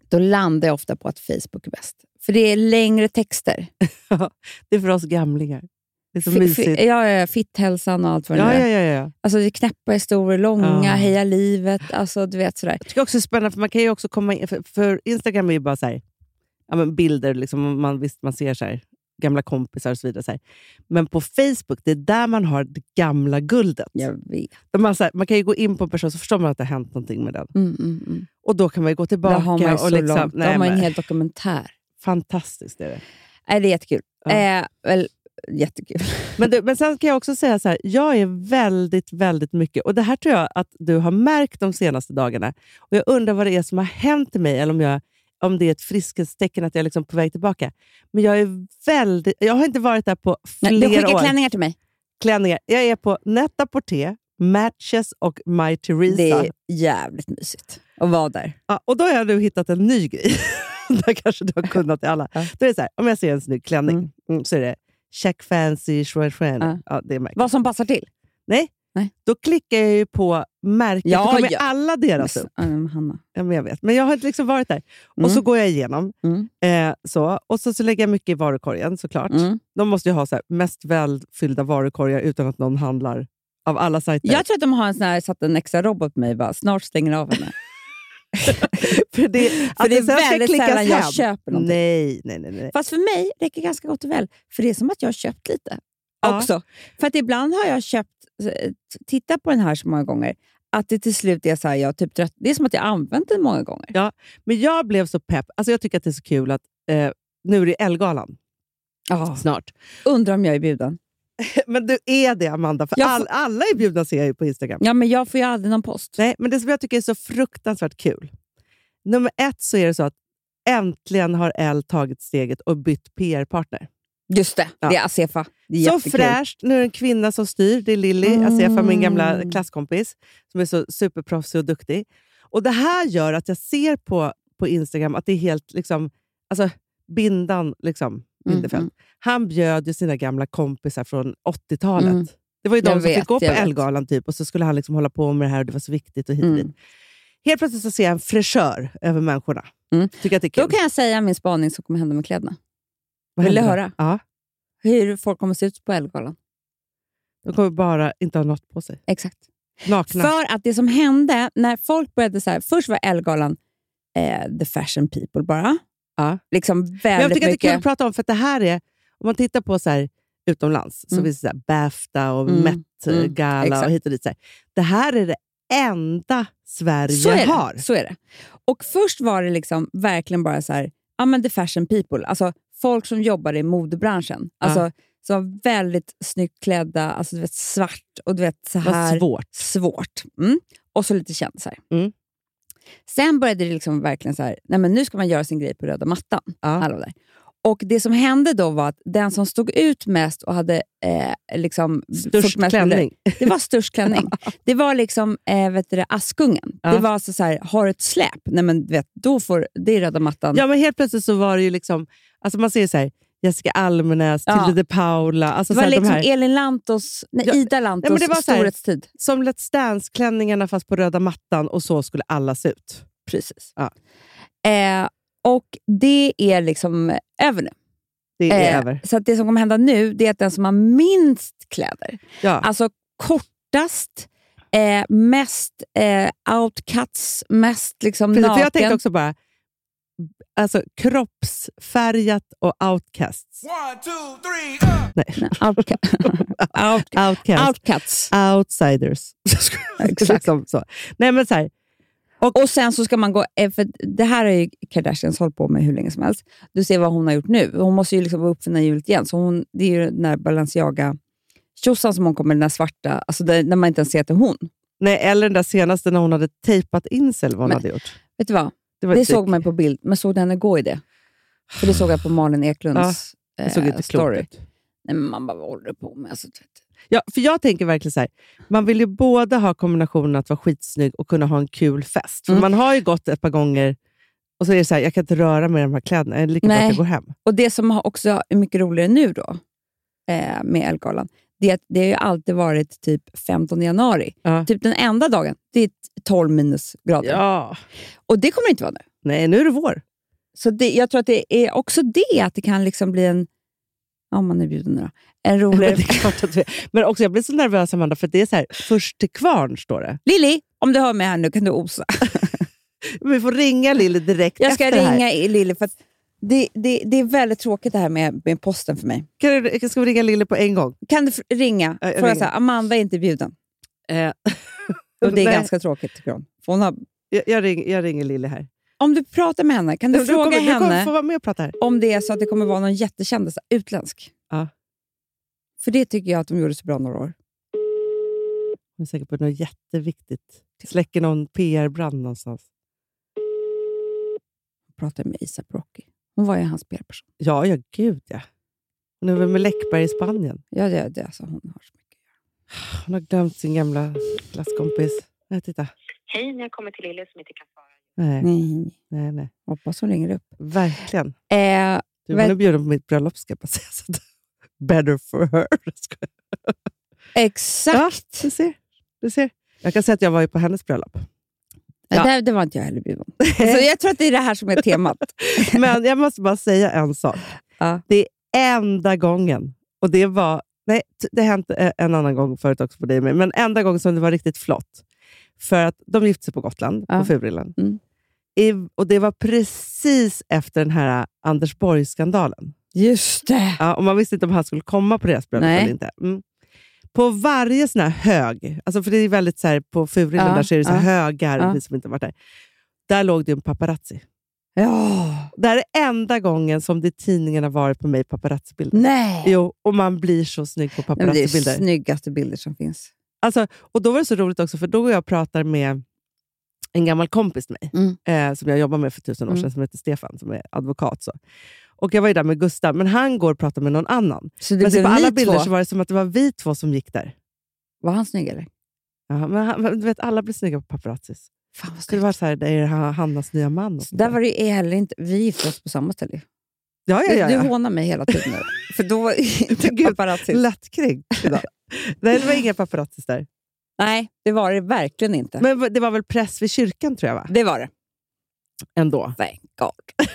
S4: Då landar jag ofta på att Facebook är bäst. För det är längre texter.
S5: Det är för oss gamlingar. Det är så
S4: Fi- fi-
S5: mysigt.
S4: Ja, ja, fitthälsan och allt vad det nu
S5: Ja,
S4: är.
S5: ja, ja, ja.
S4: Alltså, det är knäppa historier, långa,
S5: Ja.
S4: heja livet. Alltså, du vet sådär.
S5: Jag tycker också det är spännande, för man kan ju också komma in, för, för Instagram är ju bara så här, ja, men bilder, liksom, man, visst man ser så här, gamla kompisar och så vidare. Så här. Men på Facebook, det är där man har det gamla guldet.
S4: Jag vet.
S5: Där Man, så här, man kan ju gå in på en person så förstår man att det har hänt någonting med den.
S4: Mm, mm, mm.
S5: Och då kan man ju gå tillbaka.
S4: Där har man ju så
S5: och liksom,
S4: långt. Där
S5: Nej,
S4: har man ju en
S5: men,
S4: hel dokumentär.
S5: Fantastiskt är det.
S4: Nej, det är jättekul.
S5: Ja.
S4: Eh, väl, jättekul.
S5: Men, du, men sen kan jag också säga så här, jag är väldigt, väldigt mycket, och det här tror jag att du har märkt de senaste dagarna. Och Jag undrar vad det är som har hänt i mig, eller om, jag, om det är ett friskhetstecken att jag är liksom på väg tillbaka. Men jag är väldigt, jag har inte varit där på
S4: Nej, Du
S5: flera
S4: skickar
S5: år.
S4: klänningar till mig.
S5: Klänningar. Jag är på Netta Porté, Matches och My Teresa.
S4: Det är jävligt mysigt att vara där.
S5: Ja, och då har jag nu hittat en ny grej. Där kanske du har kunnat i alla. Då är det så här, om jag ser en snygg klänning
S4: Mm.
S5: mm, så är det check fancy, schwa, schwa.
S4: Ja.
S5: Ja, det är märkligt.
S4: Vad som passar till.
S5: Då klickar jag ju på märket.
S4: Ja,
S5: då kommer
S4: ja.
S5: alla deras upp.
S4: Ja, men Hanna.
S5: Ja, men jag vet. Men jag har inte liksom varit där.
S4: Mm.
S5: Och så går jag igenom.
S4: Mm.
S5: Eh, så. Och så, så lägger jag mycket i varukorgen såklart.
S4: Mm.
S5: De måste ju ha så här, mest välfyllda varukorgar utan att någon handlar av alla sajter.
S4: Jag tror att de har en sån här, satt en extra robot på mig bara, snart stänger av henne.
S5: för det,
S4: För
S5: att
S4: det är
S5: sen ska
S4: väldigt
S5: klickas
S4: sällan jag
S5: hem.
S4: köper någonting.
S5: Nej, nej, nej. nej.
S4: Fast för mig räcker ganska gott och väl, för det är som att jag har köpt lite
S5: Ja.
S4: också. För att ibland har jag köpt, eh, titta på den här så många gånger, att det till slut är så här, jag är typ trött. Det är som att jag har använt den många gånger.
S5: Men jag blev så pepp. Alltså jag tycker att det är så kul att eh, nu är det Ellegalan snart.
S4: Undrar om jag är bjuden.
S5: Men du är det, Amanda. För
S4: Jag
S5: all,
S4: får-
S5: alla är bjudna ser jag ju på Instagram.
S4: Ja, men jag får ju aldrig någon post.
S5: Nej, men det som jag tycker är så fruktansvärt kul. Nummer ett så är det så att äntligen har Elle tagit steget och bytt PR-partner.
S4: Just det,
S5: Ja.
S4: det är Asefa. Det är
S5: Så
S4: jättekul.
S5: fräscht. Nu är det en kvinna som styr. Det är Lilly,
S4: Mm.
S5: Asefa, min gamla klasskompis, som är så superproffsig och duktig. Och Det här gör att jag ser på, på Instagram att det är helt... liksom, alltså Bindan liksom, Bindefeld.
S4: Mm, mm.
S5: Han bjöd ju sina gamla kompisar från 80-talet.
S4: Mm.
S5: Det var ju de
S4: Jag
S5: som
S4: vet,
S5: fick gå på
S4: jag vet.
S5: Ellegalan typ, och så skulle han liksom hålla på med det här och det var så viktigt. och hit och dit.
S4: Mm.
S5: Helt plötsligt så ser jag en fräschör över människorna.
S4: Mm.
S5: Tycker att det är kul.
S4: Då kan jag säga min spaning som kommer hända med kläderna.
S5: Vad
S4: vill du
S5: händer då?
S4: höra?
S5: Ja,
S4: Hur folk kommer se ut på Ellegalan.
S5: de kommer bara inte ha något på sig.
S4: Exakt.
S5: Nakna.
S4: För att det som hände när folk började så här, först var Ellegalan eh, the fashion people bara.
S5: Ja.
S4: Liksom
S5: Men jag
S4: väldigt
S5: tycker att det är kul
S4: mycket.
S5: att prata om, för att det här är, om man tittar på så här, utomlands, så
S4: Mm.
S5: finns det så här, Bafta och
S4: Mm, mm,
S5: Met-gala och
S4: exakt.
S5: hit och dit. Så här. Det här är det enda Sverige
S4: Så är,
S5: har.
S4: det, så är det. Och först var det liksom verkligen bara så här, ja men the fashion people, alltså folk som jobbar i modebranschen. Alltså, Som var väldigt snyggt klädda, alltså du vet svart och du vet så här.
S5: Vad svårt.
S4: svårt. Mm. Och så lite kändisar.
S5: Mm.
S4: Sen började det liksom verkligen så här, nej men nu ska man göra sin grej på röda mattan. Alla var där. Och det som hände då var att den som stod ut mest och hade eh, liksom fått
S5: Störst
S4: mest
S5: klänning.
S4: det var störst klänning. Det var liksom eh, vet du, det, Askungen.
S5: Ja.
S4: Det var alltså så här, har du ett släp, nej men du vet, då får, det är röda mattan.
S5: Ja, men helt plötsligt så var det ju liksom... Alltså man ser ju så här, Jessica Almenäs,
S4: Ja.
S5: Tilde de Paula.
S4: det
S5: Alltså så
S4: var
S5: här,
S4: liksom
S5: de här,
S4: Elin Lantos, nej,
S5: Ja,
S4: Ida Lantos
S5: men det var så här-
S4: storhetstid.
S5: Som Let's Dance-klänningarna fast på röda mattan och så skulle alla se ut.
S4: Precis.
S5: Ja.
S4: Eh, och det är liksom över nu.
S5: Det är
S4: Eh,
S5: över.
S4: Så att det som kommer hända nu det är att den som har minst kläder,
S5: Ja.
S4: alltså kortast, eh, mest eh, outcuts, mest liksom
S5: Precis, för
S4: naken.
S5: jag tänkte också bara, alltså kroppsfärgat och outcasts.
S4: Outca- Out-
S5: Outcasts.
S4: outcuts.
S5: Outsiders.
S4: Exakt.
S5: liksom så. Nej, men så här,
S4: Och sen så ska man gå, eh, för det här har ju Kardashians hållit på med hur länge som helst. Du ser vad hon har gjort nu. Hon måste ju liksom uppfinna hjulet igen. Så hon, det är ju den där Balenciaga tjosan som hon kommer den där svarta, alltså där, när man inte ens ser att det är hon.
S5: nej, eller den där senaste när hon hade tejpat in sig eller vad hon
S4: Men-
S5: hade gjort.
S4: Vet du vad?
S5: var typ-
S4: Det
S5: ett-
S4: såg man på bild, men såg du henne gå i det? För det såg jag på Malin Eklunds
S5: Ah. Det såg
S4: eh,
S5: inte klokt
S4: story.
S5: ut.
S4: Nej, men man bara, vad håller du på med? Alltså, du vet.
S5: Ja, för jag tänker verkligen så här, man vill ju både ha kombinationen att vara skitsnygg och kunna ha en kul fest. För
S4: Mm.
S5: Man har ju gått ett par gånger och så är det så här, jag kan inte röra mig i de här kläderna, det är lika bra att
S4: Nej.
S5: jag går hem.
S4: Och det som har- också är mycket roligare nu då, eh, med Ellegalan, det är att det har ju alltid varit typ 15 januari.
S5: Ja.
S4: Typ den enda dagen, det är 12 minusgrader.
S5: Ja.
S4: Och det kommer det inte vara nu.
S5: Nej, nu är det vår.
S4: Så det, jag tror att det är också det, att det kan liksom bli en... Om man är bjuden nu då. En
S5: Men, det
S4: roligare...
S5: är klart att vi, men också, jag blir så nervös, Amanda, för det är så här, först till kvarn står det.
S4: Lilly, om du hör mig här nu kan du osa.
S5: Vi får ringa Lille direkt
S4: Jag ska
S5: efter det här.
S4: ringa i Lilly för att det, det, det är väldigt tråkigt det här med, med posten för mig.
S5: Kan du, ska vi ringa Lille på en gång?
S4: Kan du f- ringa?
S5: Ja, jag
S4: Får jag
S5: ringer.
S4: säga, Amanda är inte bjuden.
S5: Eh,
S4: Och det är
S5: nej,
S4: ganska tråkigt tycker hon. För hon har,
S5: Jag, jag, ring, jag ringer Lille här.
S4: om du pratar med henne, kan du, fråga
S5: kommer, Du kommer
S4: henne
S5: få vara med och prata här.
S4: om det är så att det kommer vara någon jättekändis, utländsk?
S5: Ja.
S4: För det tycker jag att de gjorde så bra några år.
S5: Hon är säkert på något jätteviktigt. Släcker någon PR-brand någonstans.
S4: Jag pratade med ASAP Rocky. Hon var ju hans PR-person.
S5: Ja, ja, gud ja. Hon är väl med Läckberg i Spanien.
S4: Ja, det, det, alltså, hon har så mycket.
S5: Hon har glömt sin gamla klasskompis. Nej, titta.
S6: Hej, ni har kommit till Lilly som inte kan svara.
S5: Nej,
S4: Nej, nej, nej.
S5: nej, nej.
S4: Hoppas hon ringer upp.
S5: Verkligen.
S4: Eh,
S5: Du,
S4: Ver-
S5: hon är bjuden på mitt bröllop ska jag bara säga. Så att, better for her. Ska jag-
S4: exakt!
S5: Du ser. Du ser. Jag kan säga att jag var ju på hennes bröllop.
S4: Nej, Det, det var inte jag heller bjuden. Så jag tror att det är det här som är temat.
S5: Men jag måste bara säga en sak.
S4: Ja.
S5: Det är enda gången, och det var... Nej, t- det har hänt eh, en annan gång förut också på dig och mig, men enda gången som det var riktigt flott. För att de gifte sig på Gotland,
S4: Ja.
S5: på Furillen.
S4: Mm.
S5: I- Och det var precis efter den här eh, Anders Borg-skandalen.
S4: Just det!
S5: Ja, och man visste inte om han skulle komma på deras bröllop
S4: Nej.
S5: eller inte. Mm. På varje sån här hög, alltså för det är väldigt så här, på Furillen
S4: Ja,
S5: där så är det så
S4: ja.
S5: här högar,
S4: Ja.
S5: vi som inte har varit där. Där låg det ju en paparazzi.
S4: Ja!
S5: Det här är enda gången som det i tidningen har varit på mig paparazzibilder.
S4: Nej!
S5: Jo, och man blir så snygg på
S4: Nej, men det är ju
S5: paparazzibilder.
S4: snyggaste bilder som finns.
S5: alltså, och då var det så roligt också, för då går jag och pratar med en gammal kompis till mig,
S4: Mm.
S5: eh, som jag jobbar med för tusen år sedan, som heter Stefan, som är advokat. Så. Och Jag var ju där med Gustav, men han går och pratar med någon annan.
S4: Så det
S5: Men så
S4: blev
S5: på alla
S4: ni
S5: bilder
S4: två.
S5: så var det som att det var vi två som gick där.
S4: Var han snygg eller?
S5: Ja, men han, men du vet, alla blir snygga på paparazzis.
S4: Fan vad
S5: Så det
S4: snyggt.
S5: var så här, det är han- Hannas nya man. och
S4: Så
S5: sånt
S4: där var det är heller inte. Vi gifte oss på samma ställe.
S5: ja, ja,
S4: Du,
S5: ja, ja.
S4: du hånar mig hela tiden nu. För då var
S5: Gud,
S4: inte paparazzi.
S5: Lättkränkt idag. Nej, det var inga paparazzis där.
S4: Nej, det var det verkligen inte.
S5: Men v- det var väl press vid kyrkan tror jag? va?
S4: det var det.
S5: Ändå.
S4: Thank God.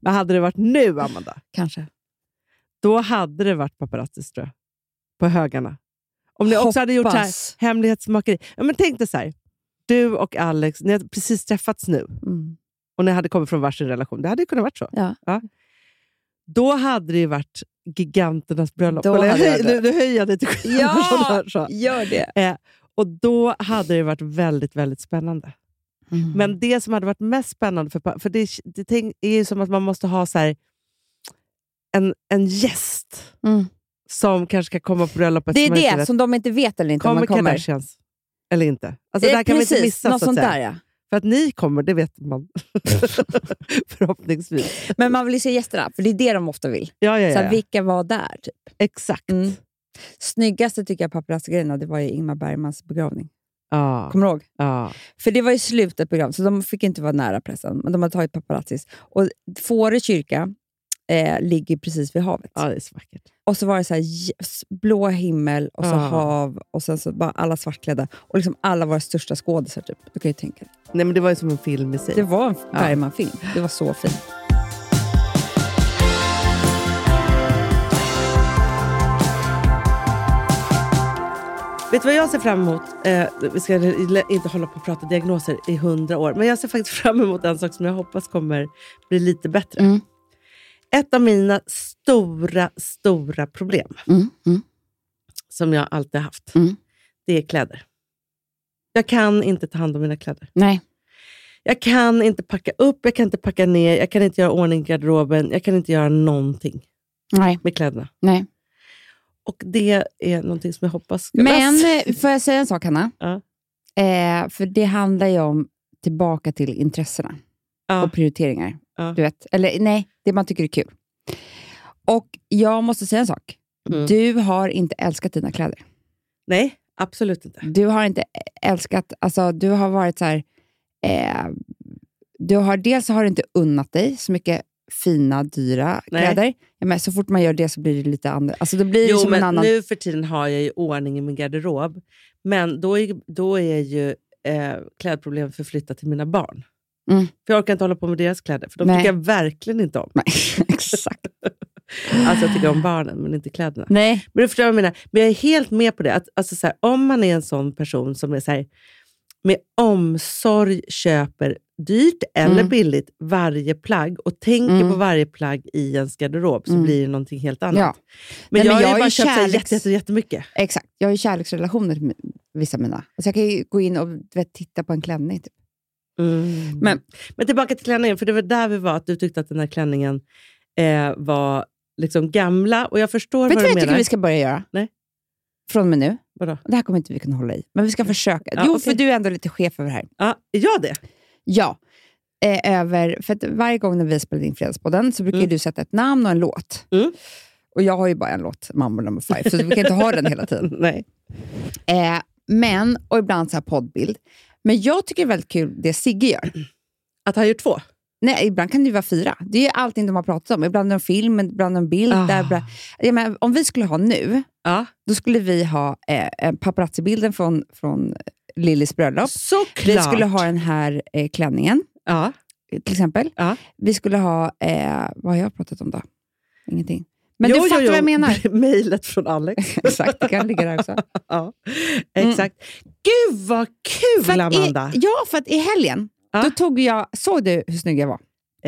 S5: Men hade det varit nu, Amanda,
S4: Kanske.
S5: då hade det varit paparazzis tror jag. På högarna. Om ni också hade gjort så här,
S4: Hoppas.
S5: hemlighetsmakeri. Ja, men tänk dig så här. Du och Alex, ni hade precis träffats nu
S4: Mm.
S5: och ni hade kommit från varsin relation. Det hade ju kunnat varit så.
S4: Ja.
S5: Då hade det ju varit giganternas bröllop.
S4: Då
S5: Eller,
S4: hade jag
S5: höj,
S4: det.
S5: nu, nu höjer jag lite skillnad
S4: Ja!
S5: från det här, så.
S4: Gör det.
S5: Och då hade det varit väldigt, väldigt spännande.
S4: Mm.
S5: Men det som hade varit mest spännande, för, pa- för det, det tänk- är ju som att man måste ha så här, en, en gäst
S4: Mm.
S5: som kanske ska komma på bröllopet.
S4: det är
S5: som man inte
S4: det
S5: vet.
S4: som de inte vet eller inte. om
S5: kommer
S4: man kommer.
S5: Kardashians? Eller inte? Alltså, det
S4: Eh,
S5: här kan man inte
S4: precis,
S5: missa.
S4: något
S5: Så att
S4: sånt där
S5: säga.
S4: ja.
S5: För att ni kommer, det vet man. Förhoppningsvis.
S4: Men man vill ju se gästerna, för det är det de ofta vill.
S5: Ja, ja,
S4: Så här,
S5: ja.
S4: vilka var där? Typ.
S5: Exakt.
S4: Mm. Snyggaste tycker jag paparazzi-grejerna, det var ju Ingmar Bergmans begravning.
S5: Ja,
S4: Kommer du ihåg?
S5: ja.
S4: För det var ju slutet program, så de fick inte vara nära pressen. Men de hade tagit paparazzis. Och Fårö kyrka eh, ligger precis vid havet.
S5: ja, det är så vackert.
S4: Och så var det så här, yes, blå himmel och så
S5: Ja.
S4: hav och sen så bara alla svartklädda. Och liksom alla våra största skådisar typ. Du kan ju tänka dig.
S5: Nej, men det var ju som en film i sig.
S4: Det var en Bergman-film. Det var så fint.
S5: Vet du vad jag ser fram emot? Eh, vi ska l- inte hålla på och prata diagnoser i hundra år, men jag ser faktiskt fram emot en sak som jag hoppas kommer bli lite bättre.
S4: Mm.
S5: Ett av mina stora, stora problem som jag alltid haft,
S4: Mm.
S5: det är kläder. Jag kan inte ta hand om mina kläder.
S4: Nej.
S5: Jag kan inte packa upp, jag kan inte packa ner, jag kan inte göra ordning i garderoben, jag kan inte göra någonting
S4: Nej.
S5: med kläderna.
S4: Nej.
S5: Och det är någonting som jag hoppas ska
S4: Men
S5: lösas.
S4: eh, får jag säga en sak, Hanna?
S5: Ja.
S4: Eh, för det handlar ju om tillbaka till intressena.
S5: Ja.
S4: och prioriteringar.
S5: Ja.
S4: Du vet. Eller nej, det man tycker är kul. Och jag måste säga en sak.
S5: Mm.
S4: Du har inte älskat dina kläder.
S5: Nej, absolut inte.
S4: Du har inte älskat, alltså du har varit så här, eh, du har, dels har du inte unnat dig så mycket fina, dyra
S5: Nej.
S4: kläder. Ja, men så fort man gör det så blir det lite annorlunda. Alltså det blir
S5: Jo,
S4: som en
S5: men
S4: annan...
S5: nu för tiden har jag ju ordning i min garderob. Men då är, då är ju eh, klädproblemet förflyttat till mina barn.
S4: Mm.
S5: För jag orkar inte hålla på med deras kläder, för de
S4: Nej.
S5: tycker jag verkligen inte om.
S4: Nej, exakt.
S5: Alltså jag tycker om barnen, men inte kläderna.
S4: Nej.
S5: Men du förstår vad jag menar. Men jag är helt med på det. Att, alltså, så här, om man är en sån person som är så här, med omsorg köper dyrt eller
S4: Mm.
S5: billigt varje plagg och tänker
S4: Mm.
S5: på varje plagg i ens garderob så
S4: Mm.
S5: blir det någonting helt annat.
S4: Ja,
S5: Men,
S4: Nej, men
S5: jag,
S4: jag
S5: har
S4: är
S5: ju bara
S4: ju
S5: köpt kärleks...
S4: kärleks-
S5: jätte, jätte, jättemycket.
S4: exakt. Jag har ju kärleksrelationer med vissa mina. Alltså jag kan ju gå in och du vet, titta på en klänning. Typ.
S5: Men, Mm. men tillbaka till klänningen, för det var där vi var, att du tyckte att den här klänningen eh, var liksom gamla. Och jag förstår
S4: Vet du
S5: vad
S4: vad
S5: du
S4: jag
S5: menar.
S4: tycker vi ska börja göra?
S5: Nej.
S4: Från och med nu.
S5: Vadå?
S4: Det här kommer inte vi kunna hålla i, men vi ska försöka.
S5: Ja,
S4: jo,
S5: okej.
S4: för du är ändå lite chef över det här.
S5: Ja, är jag det?
S4: Ja. Eh, över, för att varje gång när vi spelar in Fredagspodden så brukar
S5: Mm.
S4: du sätta ett namn och en låt.
S5: Mm.
S4: Och jag har ju bara en låt, Mambo number five, så vi kan inte ha den hela tiden.
S5: Nej.
S4: Eh, men, och ibland så här poddbild. Men jag tycker det är väldigt kul det Sigge gör.
S5: Att han gjort två?
S4: Nej, ibland kan det ju vara fyra. Det är ju allting de har pratat om. Ibland en film, ibland en bild.
S5: Ah.
S4: Där, ibland- jag menar, om vi skulle ha nu,
S5: Ja.
S4: då skulle vi ha eh, en paparazzi-bilden från, från Lillys bröllop.
S5: Såklart!
S4: Vi skulle ha den här eh, klänningen,
S5: ja.
S4: till exempel.
S5: Ja.
S4: Vi skulle ha... Eh, vad har jag pratat om då? Ingenting. Men
S5: Jo,
S4: du
S5: jo,
S4: fattar
S5: jo.
S4: vad jag menar.
S5: Mejlet från Alex.
S4: Exakt, det kan ligga där också.
S5: ja,
S4: Mm.
S5: exakt. Gud vad kul
S4: För att i,
S5: Amanda!
S4: ja, för att i helgen,
S5: Ja.
S4: då tog jag... Såg du hur snygg jag var?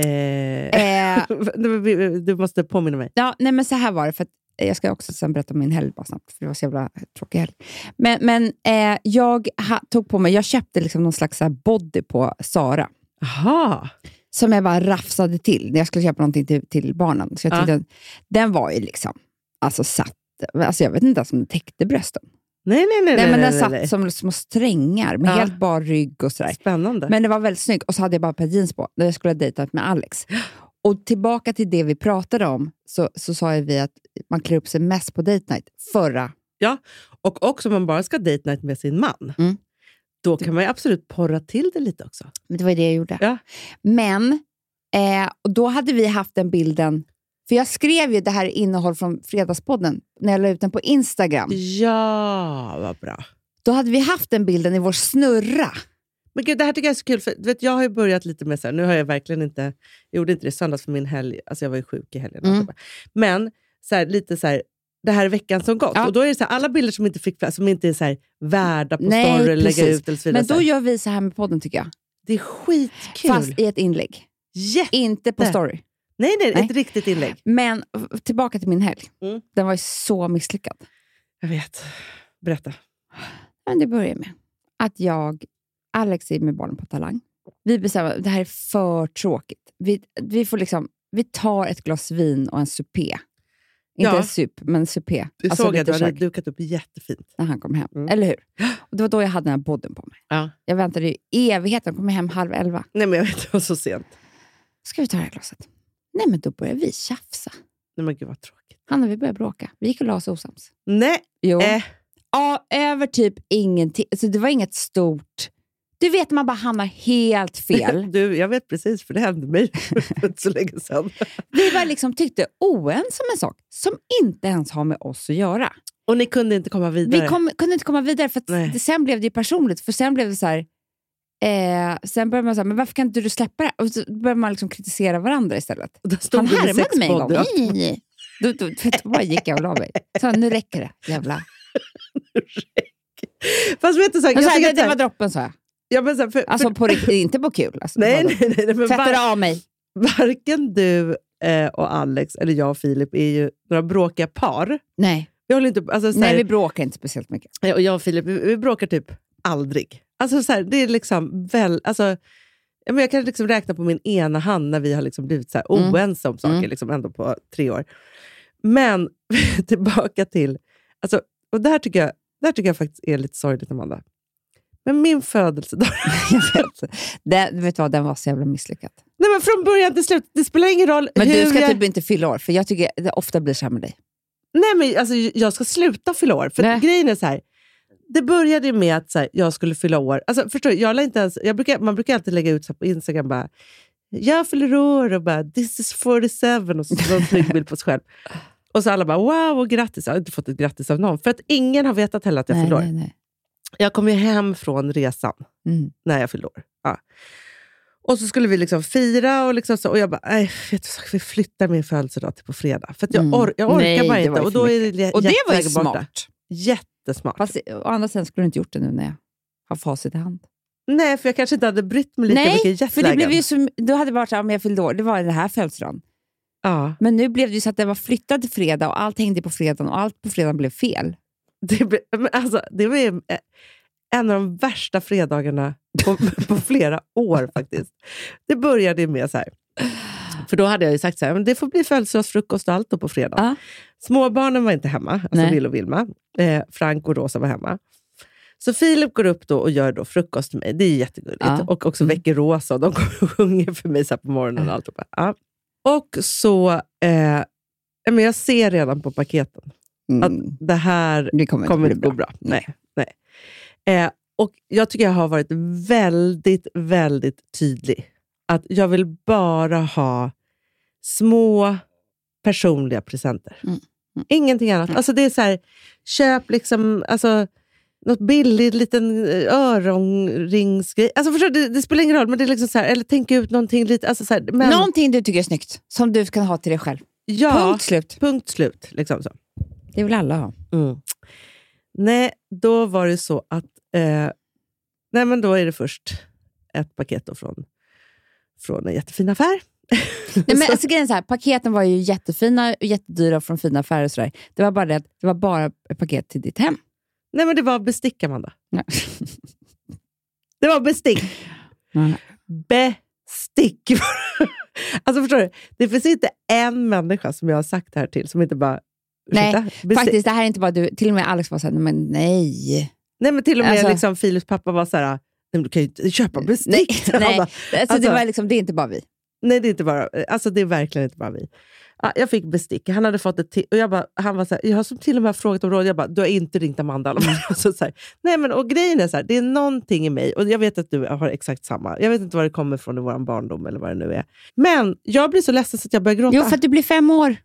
S5: Eh,
S4: Eh,
S5: nej, men vi- du måste påminna mig.
S4: Ja, nej men så här var det. För att, eh, jag ska också sen berätta om min helg bara snabbt, för det var så jävla tråkig helg. Men, men eh, jag ha, tog på mig, jag köpte liksom någon slags så här body på Sara
S5: Jaha,
S4: som jag bara rafsade till när jag skulle köpa någonting till, till barnen. Så jag
S5: Ja.
S4: tyckte, att Den var ju liksom, alltså satt, alltså jag vet inte ens om den täckte brösten.
S5: nej nej nej.
S4: Nej, men den
S5: nej,
S4: satt
S5: nej.
S4: som små strängar med
S5: Ja.
S4: helt bar rygg och sådär.
S5: Spännande.
S4: Men det var väldigt snyggt och så hade jag bara ett par jeans på när jag skulle ha dejtat med Alex. Och tillbaka till det vi pratade om så, så sa ju vi att man klär upp sig mest på date night förra.
S5: Och också om man bara ska date night med sin man,
S4: Mm.
S5: då kan man ju absolut porra till det lite också.
S4: Men det var ju det jag gjorde.
S5: Ja.
S4: Men eh, och då hade vi haft den bilden, för jag skrev ju det här innehåll från Fredagspodden när jag la ut den på Instagram.
S5: Ja, vad bra.
S4: Då hade vi haft den bilden i vår snurra.
S5: Men gud, det här tycker jag är så kul, för du vet, jag har ju börjat lite med så här, nu har jag verkligen inte, jag gjorde inte det i söndags för min helg, alltså jag var ju sjuk i helgen.
S4: Mm.
S5: Men så här, lite så här, det här är veckan som gått.
S4: Ja.
S5: Och då är det så här, alla bilder som inte fick plats, som inte är så här, värda på
S4: Nej,
S5: story eller lägga
S4: precis.
S5: ut eller så vidare.
S4: Men
S5: så
S4: då
S5: här,
S4: gör vi så här med podden tycker jag.
S5: det är skitkul.
S4: Fast i ett inlägg,
S5: Jätte-
S4: inte på
S5: Där.
S4: story.
S5: nej, nej,
S4: Nej.
S5: ett riktigt inlägg.
S4: Men f- tillbaka till min helg.
S5: Mm.
S4: Den var ju så misslyckad.
S5: Jag vet. Berätta.
S4: Men det börjar med att jag, Alex är med barnen på Talang. Vi bestämmer att det här är för tråkigt. Vi, vi, får liksom, vi tar ett glas vin och en supé. Inte
S5: Ja.
S4: en sup, men en supé. Alltså,
S5: Du såg att
S4: lite
S5: Alltså, du hade
S4: kök
S5: dukat upp jättefint.
S4: när han kom hem.
S5: Mm.
S4: Eller hur? Och det var då jag hade den här bodden på mig.
S5: Ja.
S4: Jag väntade ju evigheten. Jag kom hem halv elva.
S5: Nej, men jag vet, det var så sent.
S4: Ska vi ta det här glaset? Nej, men då börjar vi tjafsa.
S5: Nej, men gud vad tråkigt.
S4: Hanna, vi började bråka. Vi gick och la oss osams.
S5: Nej,
S4: Jo.
S5: eh,
S4: Ja, över typ ingenting. Alltså, det var inget stort... Du vet, man bara hamnar helt fel.
S5: du, jag vet precis, för det hände mig för inte så länge sedan.
S4: Vi bara liksom tyckte oense om en sak som inte ens har med oss att göra.
S5: Och ni kunde inte komma vidare?
S4: Vi kom, kunde inte komma vidare, för att
S5: Nej.
S4: det- sen blev det ju personligt. För sen blev det så här... Eh, sen började man säga, men varför kan inte du släppa det här? Och så började man liksom kritisera varandra istället.
S5: Och där stod
S4: Han
S5: du med
S4: härmade mig en gång.
S5: sexpodden.
S4: Nej. Då, då, då, bara gick jag och la mig. Så nu räcker det, jävla.
S5: Fast vet du, så här,
S4: Men så
S5: jag
S4: här, Alltså, det,
S5: tycker att
S4: det
S5: så
S4: var
S5: här,
S4: droppen, sa jag.
S5: ja, men så här, för,
S4: Alltså
S5: för,
S4: på riktigt, inte på kul. Alltså, det var
S5: nej,
S4: då.
S5: nej, nej, nej, men var,
S4: Tvättade av mig.
S5: varken du eh, och Alex, eller jag och Filip, är ju några bråkiga par.
S4: Nej.
S5: Jag, håller inte, alltså, så här,
S4: Nej, vi bråkar inte speciellt mycket.
S5: Eh, och jag och Filip, vi, vi bråkar typ aldrig. Alltså, så här, det är liksom väl, alltså, ja, men jag kan liksom räkna på min ena hand när vi har liksom blivit så här
S4: Mm.
S5: oense om saker
S4: Mm.
S5: liksom ändå på tre år. Men tillbaka till, alltså, och där tycker, jag, där tycker jag faktiskt är lite sorgligt Amanda. Men min födelsedag
S4: Jag vet. Det, vet du vad, den var så jävla misslyckad.
S5: Nej, men från början till slut. Det spelar ingen roll
S4: Men
S5: hur
S4: du ska
S5: jag...
S4: typ inte fylla år, för jag tycker det ofta blir så här med dig.
S5: Nej, men alltså, jag ska sluta fylla år. För
S1: Nej.
S5: grejen är så här. Det började ju med att så här, jag skulle fylla år. Alltså, förstår du, jag la inte ens, jag brukar, man brukar alltid lägga ut så här på Instagram bara, jag fyller år och bara, this is 47 och så så en snygg bild på sig själv. Och så alla bara, wow och grattis. Jag har inte fått ett grattis av någon. För att ingen har vetat heller att jag
S1: Nej,
S5: fyller år.
S1: nej, nej.
S5: Jag kom ju hem från resan
S1: Mm.
S5: när jag fyllde år. Ja. Och så skulle vi liksom fira och, liksom så, och jag bara, nej, vet du, så, vi flyttar min födelsedag till på fredag. För att jag,
S1: Mm.
S5: or- jag orkar
S1: Nej, det var
S5: bara
S1: ju
S5: inte. Och,
S1: för
S5: då är det
S4: Och det var ju
S5: jättevägen borta.
S4: smart.
S5: Jättesmart.
S4: Fast å andra sidan skulle du inte gjort det nu när jag har facit i hand.
S5: Nej, för jag kanske inte hade brytt mig lika
S4: Nej,
S5: mycket i
S4: För det blev
S5: jetlagen.
S4: ju som, du hade det varit så här, om jag fyllde år, det var den här födelsedagen.
S5: Ja,
S4: Men nu blev det ju så att det var flyttad till fredag och allt hängde på fredagen och allt på fredagen blev fel.
S5: det, blev, men alltså, det var ju eh, en av de värsta fredagarna på, på flera år faktiskt. Det började ju med så här. För då hade jag ju sagt så här, men det får bli födelsedagsfrukost och allt då på fredag.
S4: Ja.
S5: Småbarnen var inte hemma, alltså
S4: Nej.
S5: Bill och Vilma. Eh, Frank och Rosa var hemma. Så Filip går upp då och gör då frukost till mig. Det är jättegulligt.
S4: Ja. Mm.
S5: Och också väcker Rosa och de kommer och sjunger för mig så här på morgonen. Och, allt ja. och så, eh, ja, men jag ser redan på paketen
S7: Mm.
S5: att det här
S7: Det kommer,
S5: kommer
S7: inte
S5: inte
S7: bli
S5: gå
S7: bra.
S5: bra. Nej. Nej. Eh, och jag tycker jag har varit väldigt, väldigt tydlig. Att jag vill bara ha små personliga presenter.
S4: Mm. Mm.
S5: Ingenting annat. Alltså det är så här, köp liksom, alltså, något billigt, liten eh, öronringsgrej. Alltså förstår du, det, det spelar ingen roll, men det är liksom så här, eller tänk ut någonting lite. Alltså så här, men,
S4: Någonting du tycker är snyggt, som du kan ha till dig själv.
S5: ja,
S4: Punkt slut.
S5: punkt slut. Liksom så.
S4: Det vill alla ha.
S5: Mm. Nej, då var det så att... Eh, nej, men då är det först ett paket då från, från en jättefin affär.
S4: Nej, men, alltså, grejen är så här, paketen var ju jättefina och jättedyra från fina affärer. Och så där. Det var bara det att det var bara ett paket till ditt hem.
S5: Nej, men det var bestick, Amanda.
S4: Nej.
S5: Det var bestick.
S4: Nej.
S5: Bestick! alltså, förstår du? Det finns inte en människa som jag har sagt det här till som inte bara...
S4: Nej,
S5: "Ursäkta, bestick."
S4: Faktiskt, det här är inte bara du. Till och med Alex var såhär, men nej.
S5: Nej, men till och med
S4: Alltså-
S5: liksom, Filips pappa var så här... Nej, men du kan ju inte köpa
S4: Nej,
S5: bestick. Han
S4: nej.
S5: bara,
S4: Alltså,
S5: Alltså-
S4: det, var liksom, det är inte bara vi.
S5: Nej, det är, inte bara, alltså, det är verkligen inte bara vi. Ja, jag fick bestick. Han hade fått ett till. Och jag bara, han var så här, jag har som till och med frågat om råd. Jag bara, du har inte ringt Amanda.
S4: Mm.
S5: Alltså, så här, nej, men, och grejen är så här, det är någonting i mig. Och jag vet att du har exakt samma. Jag vet inte var det kommer från i vår barndom eller vad det nu är. Men jag blir så ledsen så att jag börjar gråta.
S4: Jo, för att du blir fem år.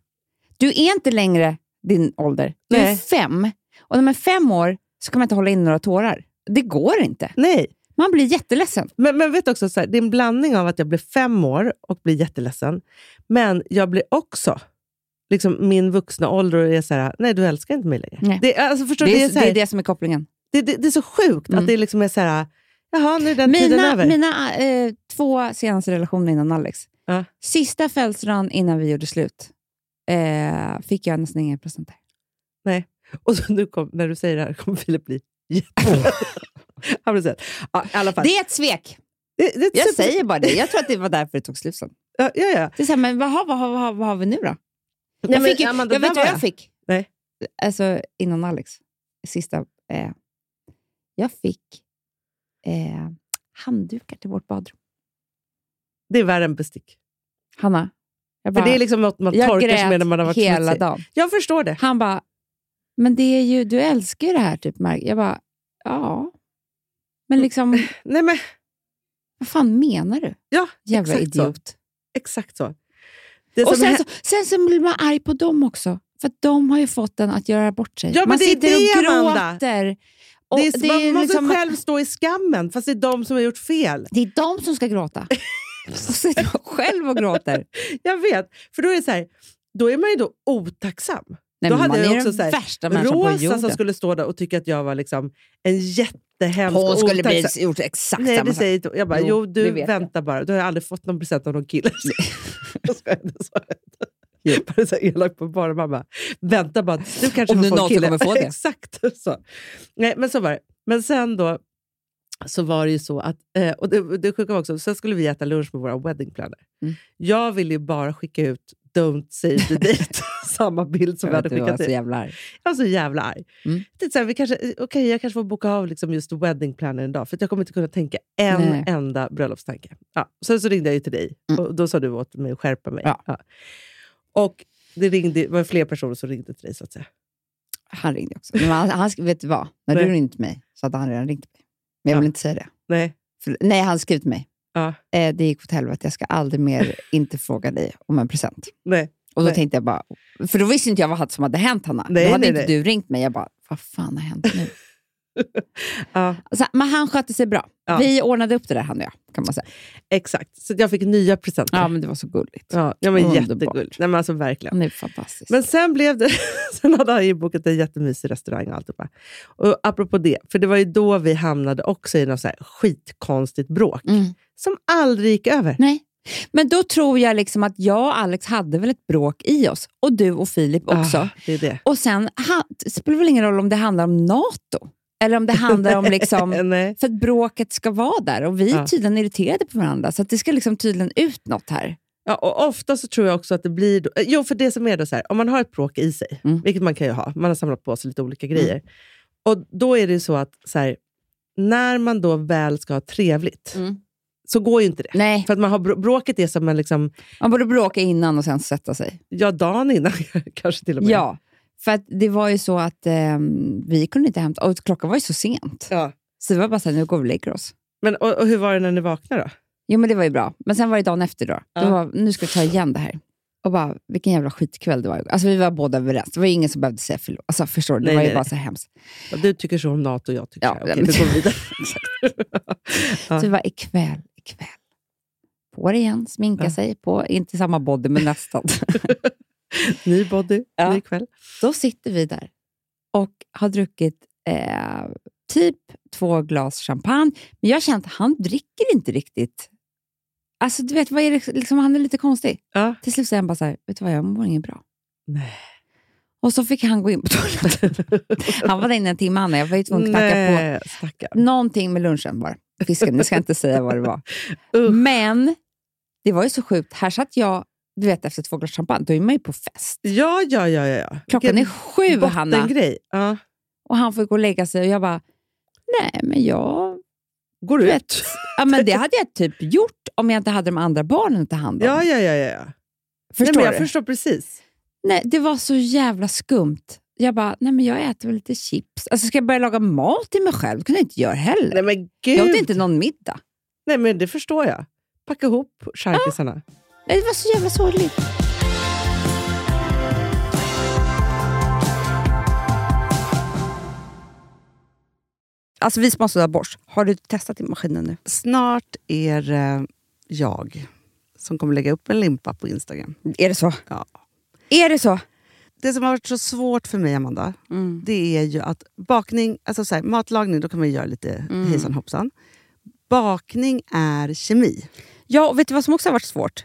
S4: Du är inte längre din ålder. Du är
S5: Nej.
S4: fem. Och när man är fem år så kan man inte hålla in några tårar. Det går inte.
S5: Nej,
S4: Man blir jätteledsen.
S5: men, men vet också, så här, det är en blandning av att jag blir fem år och blir jätteledsen. Men jag blir också liksom, min vuxna ålder och är så här, nej du älskar inte mig längre.
S4: Nej.
S5: Det, alltså, förstår, du,
S4: Det
S5: det
S4: är,
S5: så här,
S4: det är det som är kopplingen.
S5: Det, det, det är så sjukt att
S4: Mm.
S5: det liksom är så här, jaha, nu är den tiden
S4: Mina,
S5: över.
S4: mina eh, två senaste relationer innan Alex.
S5: Ja.
S4: Sista födelsedagen innan vi gjorde slut eh, fick jag nästan inga presenter.
S5: Och så nu kom, när du säger det här kommer Filip bli jätteledsen. Han blir så här, ja, i alla fall.
S4: Oh. Det är ett svek.
S5: Det- det är ett
S4: Jag
S5: super-
S4: säger bara det. Jag tror att det var därför det tog slut sen.
S5: Ja, ja, ja.
S4: Det är så här, men vad har, vad, har, vad, har, vad har vi nu då?
S5: Nej,
S4: jag
S5: men
S4: fick, ju-
S5: Amanda,
S4: jag
S5: där
S4: vet
S5: var
S4: vad jag
S5: jag.
S4: fick.
S5: Nej.
S4: Alltså innan Alex. Sista. Eh, jag fick eh, handdukar till vårt badrum.
S5: Det är värre än bestick.
S4: Hanna, jag, bara,
S5: För det är liksom något man
S4: jag
S5: torkar sig med när man har
S4: grät
S5: varit
S4: hela
S5: smutsig.
S4: dagen.
S5: Jag förstår det.
S4: Han bara, men det är ju, du älskar ju det här. Typ, Mark. Jag bara, ja. Men liksom,
S5: Nej, men,
S4: vad fan menar du?
S5: ja,
S4: Jävla
S5: exakt Så.
S4: idiot.
S5: Exakt så. Det
S4: Och
S5: som
S4: sen,
S5: hä-
S4: så, sen så blir man arg på dem också. För att de har ju fått den att göra bort sig.
S5: Ja, men
S4: man
S5: det är
S4: sitter
S5: det,
S4: och
S5: Amanda.
S4: gråter. Och
S5: det är, man måste
S4: liksom-
S5: själv stå i skammen, fast det är de som har gjort fel.
S4: Det är de som ska gråta. Och så sitter jag själv och gråter.
S5: Jag vet, för då är det så här, då är man ju då otacksam.
S4: Nej,
S5: Då
S4: men
S5: hade
S4: man
S5: jag
S4: är
S5: också
S4: den
S5: så här,
S4: värsta människan på
S5: Rosa som
S4: jorden.
S5: skulle stå där och tycka att jag var liksom en jättehemsk
S4: Hon skulle bli
S5: otacksam-
S4: gjort exakt
S5: Nej,
S4: samma
S5: det
S4: sak.
S5: säger inte hon. Jag bara, jo,
S4: Jo,
S5: du
S4: det vet
S5: vänta bara. Du har jag aldrig fått någon present av någon kille. Jag skojar inte, jag skojar inte. Bara så här elak på bara mamma. Vänta bara, du kanske
S4: Om
S5: får
S4: du
S5: få en
S4: någonsin
S5: kille.
S4: kommer få det.
S5: Exakt så. Nej, men så var det. Men sen då så var det ju så att, eh, och det, det sjuka var också, sen skulle vi äta lunch med våra wedding planner.
S4: Mm.
S5: Jag ville ju bara skicka ut Don't save the date, samma bild som vi
S4: Jag
S5: hade
S4: vet, alltså du var
S5: skickat ut.
S4: så jävla arg.
S5: Jag var så jävla arg.
S4: Mm.
S8: Typ
S5: Tänkte Så här, vi kanske, okay, jag kanske får boka av liksom just wedding planner en dag, för att jag kommer inte kunna tänka en
S4: Nej. Mm.
S5: enda bröllopstanke. Ja. Sen så ringde jag ju till dig och då sa du åt mig att skärpa mig.
S4: Ja.
S5: Ja. Och
S8: Det ringde, var fler personer som ringde till dig, så att säga.
S4: Han ringde också. Men han, han, sk- vet du vad? När
S8: Nej.
S4: du ringde till mig så hade han redan ringt mig. Men jag
S8: Ja.
S4: vill inte säga det.
S8: Nej.
S4: För, nej, han skrev till mig.
S8: Ja.
S4: Eh, det gick åt helvete. Jag ska aldrig mer inte fråga dig om en present.
S8: Nej.
S4: Och då
S8: Nej.
S4: tänkte jag bara... För då visste inte jag vad som hade hänt, Hanna.
S8: Nej,
S4: då hade
S8: nej,
S4: inte
S8: nej.
S4: du ringt mig. Jag bara, vad fan har hänt nu?
S8: Ja,
S4: Alltså, men han skötte sig bra.
S8: Ja.
S4: Vi ordnade upp det där, han och jag. Kan man säga.
S8: exakt. Så jag fick nya presenter.
S4: Ja, men det var så gulligt.
S8: Ja, ja, men
S4: Underbart.
S8: jättegulligt. Nej, men alltså verkligen.
S4: Han är fantastisk.
S8: Men sen blev det, sen hade han ju bokat en jättemysig restaurang och alltihopa. Och apropå det, för det var ju då vi hamnade också i något så här skitkonstigt bråk.
S4: Mm.
S8: Som aldrig gick över.
S4: Nej. Men då tror jag liksom att jag och Alex hade väl ett bråk i oss. Och du och Filip också.
S8: Ah, det är det.
S4: Och sen ha, det spelar väl ingen roll om det handlar om NATO. Eller om det handlar om... liksom
S8: Nej.
S4: För att bråket ska vara där och vi är
S8: Ja.
S4: tydligen irriterade på varandra. Så att det ska liksom tydligen ut något här.
S8: Ja, och ofta så tror jag också att det blir... Då, eh, jo, för det som är då så här, om man har ett bråk i sig,
S4: Mm.
S8: vilket man kan ju ha, man har samlat på sig lite olika grejer. Och då är det ju så att så här, när man då väl ska ha trevligt,
S4: Mm.
S8: så går ju inte det.
S4: Nej,
S8: För att man har, br- bråket är som en, liksom,
S4: man borde bråka innan och sen sätta sig.
S8: ja, dagen innan kanske till och med.
S4: Ja, för att det var ju så att ehm, vi kunde inte hämta... Och klockan var ju så sent.
S8: Ja.
S4: Så det var bara så här, nu går vi och lägger oss.
S8: Men, och, och hur var det när ni vaknade då?
S4: Jo, men det var ju bra. Men sen var det dagen efter då.
S8: Ja.
S4: då var, nu ska vi ta igen det här. Och bara, vilken jävla skitkväll det var. Alltså vi var båda överens. Det var ju ingen som behövde säga förlåt. Alltså förstår du? Det
S8: Nej,
S4: var ju
S8: nej,
S4: bara
S8: nej.
S4: så här hemskt.
S8: Ja, Du tycker så om NATO, jag tycker
S4: Ja,
S8: så här. Okej,
S4: men-
S8: vi går vidare. Ja.
S4: Så vi var ikväll, ikväll. På det igen, sminka
S8: Ja.
S4: sig. På, inte samma body, men nästan.
S8: Ny body,
S4: Ja.
S8: ny kväll.
S4: Då sitter vi där och har druckit eh, typ två glas champagne. Men jag har känt att han dricker inte riktigt. Alltså, du vet, vad är det, liksom, han är lite konstig.
S8: Ja.
S4: Till slut säger han bara så här, vet du vad, jag mår inget bra.
S8: Nej.
S4: Och så fick han gå in på toaletten. Han var där inne en timme, Anna. Jag var ju tvungen att knacka
S8: Nej, stackarn.
S4: på. Någonting med lunchen var det. fisken. Nu ska jag inte säga vad det var.
S8: Usch.
S4: Men det var ju så sjukt. Här satt jag, du vet, efter två glas champagne, då är man ju på fest.
S8: Ja, ja, ja. ja, ja.
S4: Klockan är sju, Hanna.
S8: Bottengrej. Ja.
S4: Och han får gå och lägga sig och jag bara, nej men jag...
S8: Går du ut?
S4: Ja, men det hade jag typ gjort om jag inte hade de andra barnen att ta hand om.
S8: Ja, ja, ja. ja, ja. Nej,
S4: förstår
S8: men jag
S4: du?
S8: förstår precis.
S4: Nej, det var så jävla skumt. Jag bara, nej men jag äter väl lite chips. Alltså ska jag börja laga mat till mig själv? Det kunde jag inte göra heller.
S8: Nej, men
S4: jag
S8: gud.
S4: åt inte någon middag.
S8: Nej, men det förstår jag. Packa ihop charkisarna.
S5: Ah!
S4: Nej, Det var så jävla sorgligt. Alltså vi som har sådär borst, har du testat i maskinen nu?
S5: Snart är det eh, jag som kommer lägga upp en limpa på Instagram.
S4: Är det så?
S5: Ja.
S4: Är det så?
S5: Det som har varit så svårt för mig, Amanda,
S8: Mm.
S5: det är ju att bakning... Alltså så här, matlagning, då kan man ju göra lite
S8: Mm.
S5: hejsan hoppsan. Bakning är kemi.
S4: Ja, och vet du vad som också har varit svårt?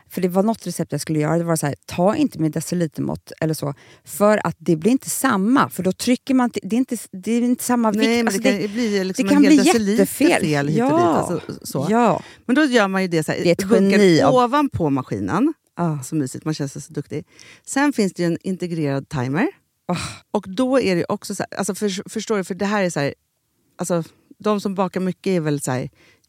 S4: För det var något recept jag skulle göra. Det var så här, ta inte med decilitermått eller så. För att det blir inte samma. För då trycker man... till- Det är inte, det är inte samma vikt.
S5: Nej, men
S4: Alltså,
S5: det kan ju bli liksom
S4: det kan
S5: en hel
S4: bli
S5: deciliter
S4: jättefel.
S5: fel hit och dit.
S4: Ja.
S5: Alltså, så.
S4: Ja.
S5: Men då gör man ju det så här,
S4: Det är ett
S5: bunkar
S4: geni av-
S5: ovanpå maskinen.
S4: Ah.
S5: Så mysigt, man känns så duktig. Sen finns det ju en integrerad timer.
S4: Ah.
S5: Och då är det ju också så här, alltså för, förstår du, för det här är så här, alltså de som bakar mycket är väl så här,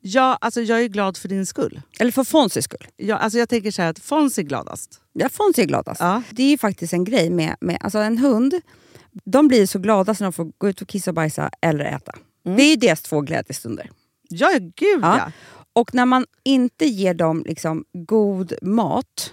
S9: Ja, alltså jag är glad för din skull.
S4: Eller för Fonzys skull.
S9: Ja, alltså jag tänker så här att Fons är gladast.
S4: Ja, Fonzie är gladast.
S9: Ja.
S4: Det är ju faktiskt en grej med, med alltså en hund. De blir så glada när de får gå ut och kissa och bajsa eller äta. Det är ju deras två glädjestunder.
S9: Ja, gud ja.
S4: Ja. Och när man inte ger dem liksom god mat,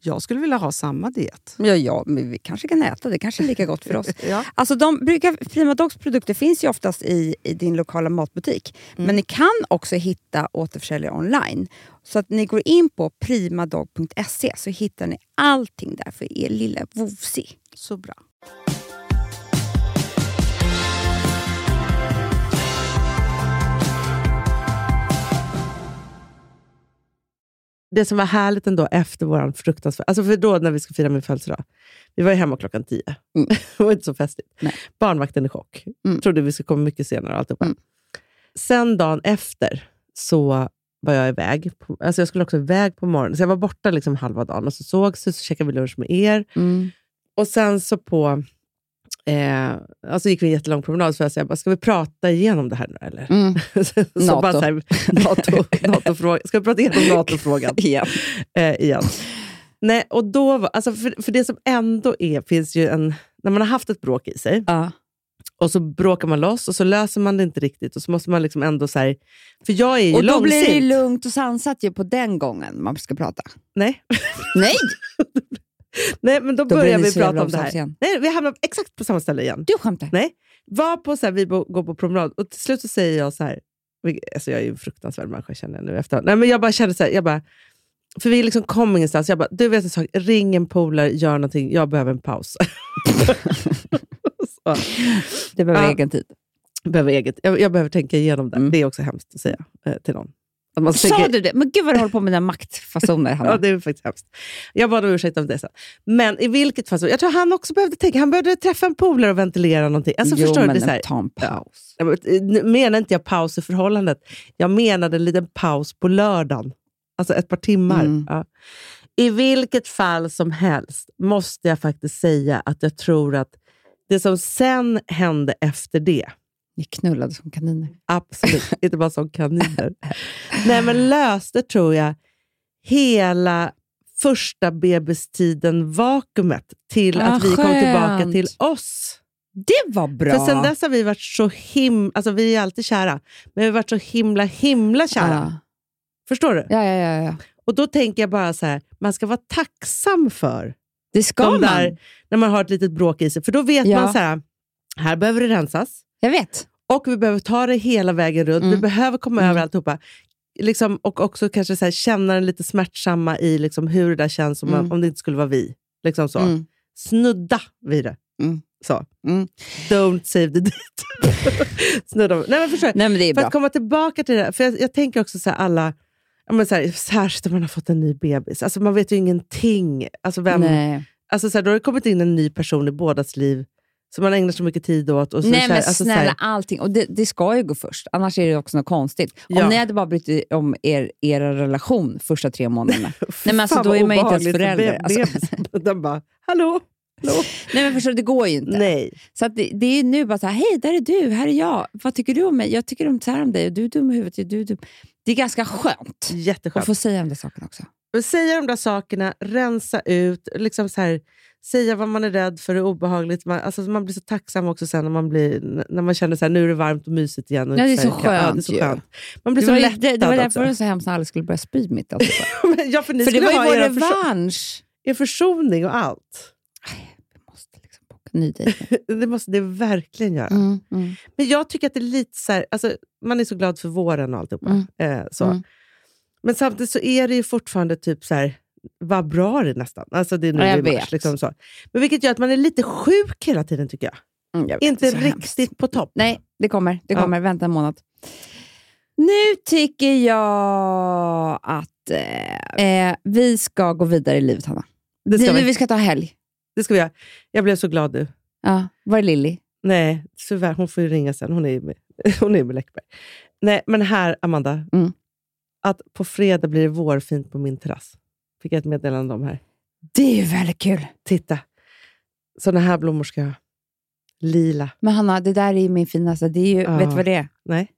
S9: Jag skulle vilja ha samma diet.
S4: ja, ja, men vi kanske kan äta. Det kanske är lika gott för oss.
S9: Ja.
S4: Alltså de brukar, Prima Dogs produkter finns ju oftast i, i din lokala matbutik.
S5: Mm.
S4: Men ni kan också hitta återförsäljare online. Så att ni går in på primadog.se så hittar ni allting där för er lilla vovsi.
S9: Så bra.
S5: det som var härligt ändå efter vår fruktansvärda... Alltså för då när vi skulle fira min födelsedag, vi var ju hemma klockan tio. det var inte så festligt.
S4: Mm. Nej. Mm.
S5: Barnvakten i chock. Trodde vi skulle komma mycket senare och alltihopa. Sen dagen efter så var jag iväg. På, alltså jag skulle också iväg på morgonen, så jag var borta liksom halva dagen. Och så sågs vi, så käkade vi lunch med er.
S4: Mm.
S5: Och sen så på... Eh, alltså gick vi en jättelång promenad, så jag sa, ska vi prata igenom det här nu eller? så
S4: Mm. Nato.
S5: Bara så här, NATO, NATO-fråga. Ska vi prata igenom NATO-frågan?
S4: Ja.
S5: eh, igen. Nej, och då var, alltså för, för det som ändå är, finns ju en... När man har haft ett bråk i sig
S4: Ja.
S5: och så bråkar man loss och så löser man det inte riktigt och så måste man liksom ändå så här... För jag är ju
S4: Och då
S5: långsint.
S4: blir det lugnt och sansat ju på den gången man ska prata.
S5: Nej,
S4: Nej!
S5: nej, men då,
S4: Då
S5: börjar
S4: blir
S5: vi
S4: så jävla
S5: prata om det här.
S4: osams igen.
S5: Nej, vi hamnar exakt på samma ställe igen.
S4: Du skämtar.
S5: Nej. Var på så här, vi bo- går på promenad och till slut så säger jag så här, vilket- alltså jag är ju en fruktansvärd människa känner jag nu efterhand. Nej, men jag bara kände så här, jag bara, för vi liksom kom ingenstans. Jag bara, du vet en sak, ring en polare, gör någonting, jag behöver en paus. så.
S4: Det behöver Mm.
S5: Ja.
S4: egen tid.
S5: Jag Behöver eget. Jag, jag behöver tänka igenom det. Det är också hemskt att säga eh, till någon. Att man
S4: Sa
S5: tänker-
S4: du det? Men gud vad du håller på med dina maktfasoner, Hanna.
S5: Ja, det är faktiskt hemskt. Jag bad om ursäkt om det sen. Men i vilket fall som jag tror han också behövde tänka. Han behövde träffa en polare och ventilera någonting. Alltså,
S4: jo,
S5: förstår du?
S4: men
S5: Det är så här,
S4: en- ta en paus.
S5: Nej, men, Eh, Nu menar inte jag paus i förhållandet. Jag menade en liten paus på lördagen. Alltså ett par timmar.
S4: Mm.
S5: Ja. I vilket fall som helst måste jag faktiskt säga att jag tror att det som sen hände efter det,
S4: Ni knullade som kaniner.
S5: absolut, inte bara som kaniner, Nej, men löste tror jag hela första bebistiden vakuumet till
S4: Ah,
S5: att vi kom tillbaka
S4: skönt.
S5: till oss.
S4: Det var bra!
S5: För sen dess har vi varit så himla, alltså vi är alltid kära, men vi har varit så himla himla kära.
S4: Ja.
S5: Förstår du?
S4: Ja, ja, ja, ja.
S5: Och då tänker jag bara så här, man ska vara tacksam för
S4: Det ska
S5: de
S4: man.
S5: där, när man har ett litet bråk i sig. För då vet
S4: Ja.
S5: man så här, här behöver det rensas
S4: Jag vet.
S5: och vi behöver ta det hela vägen runt. Vi
S4: Mm.
S5: behöver komma
S4: Mm.
S5: över alltihopa. Liksom, och också kanske så här, känna den lite smärtsamma i liksom, hur det där känns om, man-
S4: Mm.
S5: om det inte skulle vara vi. Liksom så.
S4: Mm.
S5: Snudda vid det.
S4: Mm.
S5: Så.
S4: Mm.
S5: Don't save the date. Snudda. Nej, men förstår du?
S4: Nej, men det är
S5: För
S4: bra.
S5: att komma tillbaka till det där, för jag, jag tänker också så här alla, ja, men så här, särskilt om man har fått en ny bebis, alltså man vet ju ingenting. Alltså vem,
S4: Nej.
S5: alltså så här, då har det kommit in en ny person i bådas liv som man ägnar så mycket tid åt. Och så,
S4: Nej
S5: så
S4: men
S5: här, alltså, så
S4: snälla,
S5: här,
S4: allting. Och det, det ska ju gå först, annars är det också något konstigt.
S5: Ja.
S4: Om ni hade bara brytt er om er, era relation första tre månaderna. Nej, men alltså,
S5: fan
S4: då
S5: vad
S4: är man ju inte ens
S5: obehagligt för
S4: förälder,
S5: be-
S4: alltså.
S5: bebis. Den bara, hallå? hallå?
S4: Nej men förstår du, det går ju inte.
S5: Nej.
S4: Så att det, det är nu bara så här, hej där är du, här är jag. Vad tycker du om mig? Jag tycker om så här om dig och du är dum i huvudet. och Du är dum. Det är ganska skönt att
S5: Jätteskönt.
S4: få säga de där sakerna också.
S5: Men Säga de där sakerna, rensa ut, liksom så här, säga vad man är rädd för och obehagligt. Man, alltså, man blir så tacksam också sen när man, blir, när man känner att nu är det varmt och mysigt igen. Och
S4: Ja, det är
S5: inte
S4: så
S5: här- ja, det är
S4: skönt
S5: så
S4: ju.
S5: skönt. Man blir
S4: Det
S5: så
S4: var, ju-
S5: lättad
S4: det, det var
S5: också.
S4: därför det var så hemskt när alla skulle börja spy mitt. Alltså.
S5: Men, ja, för ni
S4: För det
S5: skulle
S4: var ju
S5: ha
S4: vår
S5: er, förso-
S4: revansch.
S5: er försoning och allt.
S4: Vi måste liksom boka en ny dejt.
S5: Det måste det verkligen göra.
S4: Mm, mm.
S5: Men jag tycker att det är lite så här, alltså, man är så glad för våren och alltihopa.
S4: Mm.
S5: Eh, så.
S4: Mm.
S5: Men samtidigt så är det ju fortfarande typ så här, vad bra det är nästan. Alltså det är nu
S4: Ja, jag
S5: i mars.
S4: vet.
S5: Liksom så. Men vilket gör att man är lite sjuk hela tiden tycker jag.
S4: Mm, jag vet,
S5: Inte
S4: det är så hemskt.
S5: riktigt på topp.
S4: Nej, det kommer. Det
S5: Ja.
S4: kommer. Vänta en månad. Nu tycker jag att eh, eh, vi ska gå vidare i livet, Hanna.
S5: Det ska,
S4: nu,
S5: vi,
S4: vi ska ta helg.
S5: det ska vi göra. Jag blev så glad nu.
S4: Ja. Var är Lilly?
S5: Nej, tyvärr. Hon får ju ringa sen. Hon är ju med, hon är ju med Läckberg. Nej, men här, Amanda.
S4: Mm.
S5: Att på fredag blir det vårfint på min terrass. Fick jag ett meddelande om här.
S4: Det är ju väldigt kul.
S5: Titta. Såna här blommor ska jag ha. Lila.
S4: Men Hanna, det där är ju min finaste. Det är ju,
S5: Ja.
S4: Vet du vad det är?
S5: Nej.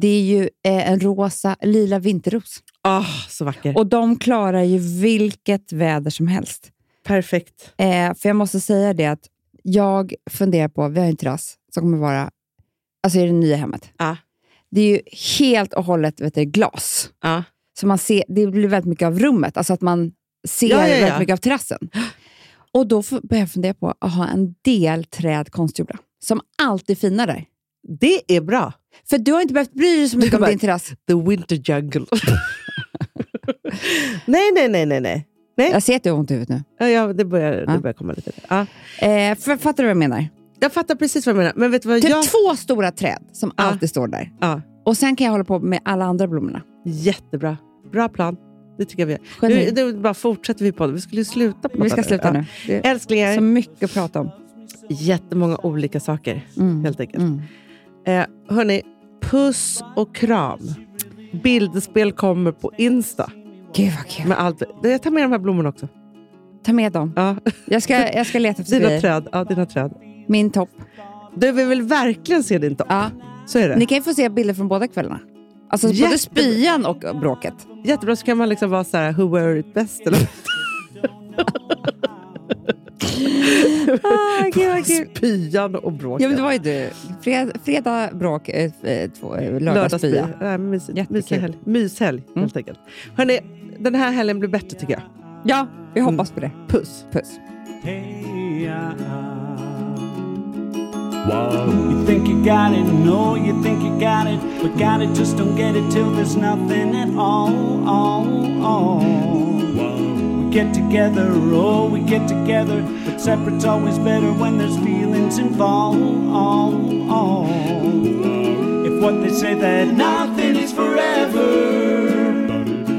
S4: Det är ju eh, en rosa, lila vinterros.
S5: Ah, så vacker.
S4: Och de klarar ju vilket väder som helst.
S5: perfekt.
S4: Eh, för jag måste säga det att jag funderar på, vi har ju en terrass som kommer vara alltså i det nya hemmet.
S5: Ja.
S4: Det är ju helt och hållet vet du, glas.
S5: Ja.
S4: Så man ser, det blir väldigt mycket av rummet, alltså att man ser
S5: Ja, ja, ja.
S4: väldigt mycket av terrassen. Och då f- börjar jag fundera på att ha en del träd konstgjorda, som alltid är fina där.
S5: Det är bra.
S4: För du har inte behövt bry dig så mycket om
S5: bara- Eh.
S4: din terrass.
S5: The winter jungle. nej, nej, nej, nej. nej.
S4: Jag ser att du har ont i huvudet nu.
S5: Ja, Ja, det, börjar, det
S4: Ja.
S5: börjar komma lite. Ja.
S4: Eh, för, fattar du vad jag menar?
S5: Jag fattar precis vad du menar. Men vet du vad
S4: Typ
S5: jag...
S4: två stora träd som
S5: Ja.
S4: alltid står där.
S5: Ja.
S4: Och sen kan jag hålla på med alla andra blommorna.
S5: Jättebra. Bra plan. Det tycker jag vi gör. Nu,
S4: Geni.
S5: nu bara fortsätter vi på det. Vi skulle ju sluta på
S4: Vi ska sluta nu. Det är
S5: Älsklingar,
S4: så mycket att prata om.
S5: jättemånga olika saker
S4: Mm.
S5: helt enkelt.
S4: Mm.
S5: Eh, hörni, puss och kram. Bildspel kommer på Insta.
S4: Gud vad kul.
S5: Med allt. Jag tar med de här blommorna också.
S4: Ta med dem.
S5: Ja,
S4: Jag ska, jag ska leta efter
S5: dina
S4: grejer.
S5: träd. Ja, dina träd.
S4: Min topp.
S5: Du vi vill verkligen se din topp.
S4: Ja.
S5: Så är det.
S4: Ni kan ju få se bilder från båda kvällarna. Alltså
S5: Jättebra.
S4: både spyan och bråket.
S5: Jättebra, så kan man liksom vara så här, who wear it best? Eller?
S4: Ah, gud vad kul.
S5: Spyan och bråket.
S4: Ja, men det var ju du. Fred, fredag bråk, eh, eh, två- eh, lördag
S5: Lördagsby.
S4: spya.
S5: Ja, mys,
S4: Jättekul. Mm.
S5: myshelg, myshelg helt enkelt. Hörni, den här helgen blir bättre tycker jag.
S4: Ja, vi hoppas på det.
S5: Puss!
S4: Puss.
S10: Whoa. You think you got it, no, you think you got it, but got it, just don't get it till there's nothing at all, all, all. Whoa. We get together, oh, we get together, but separate's always better when there's feelings involved, all, all. If what they say that nothing is forever.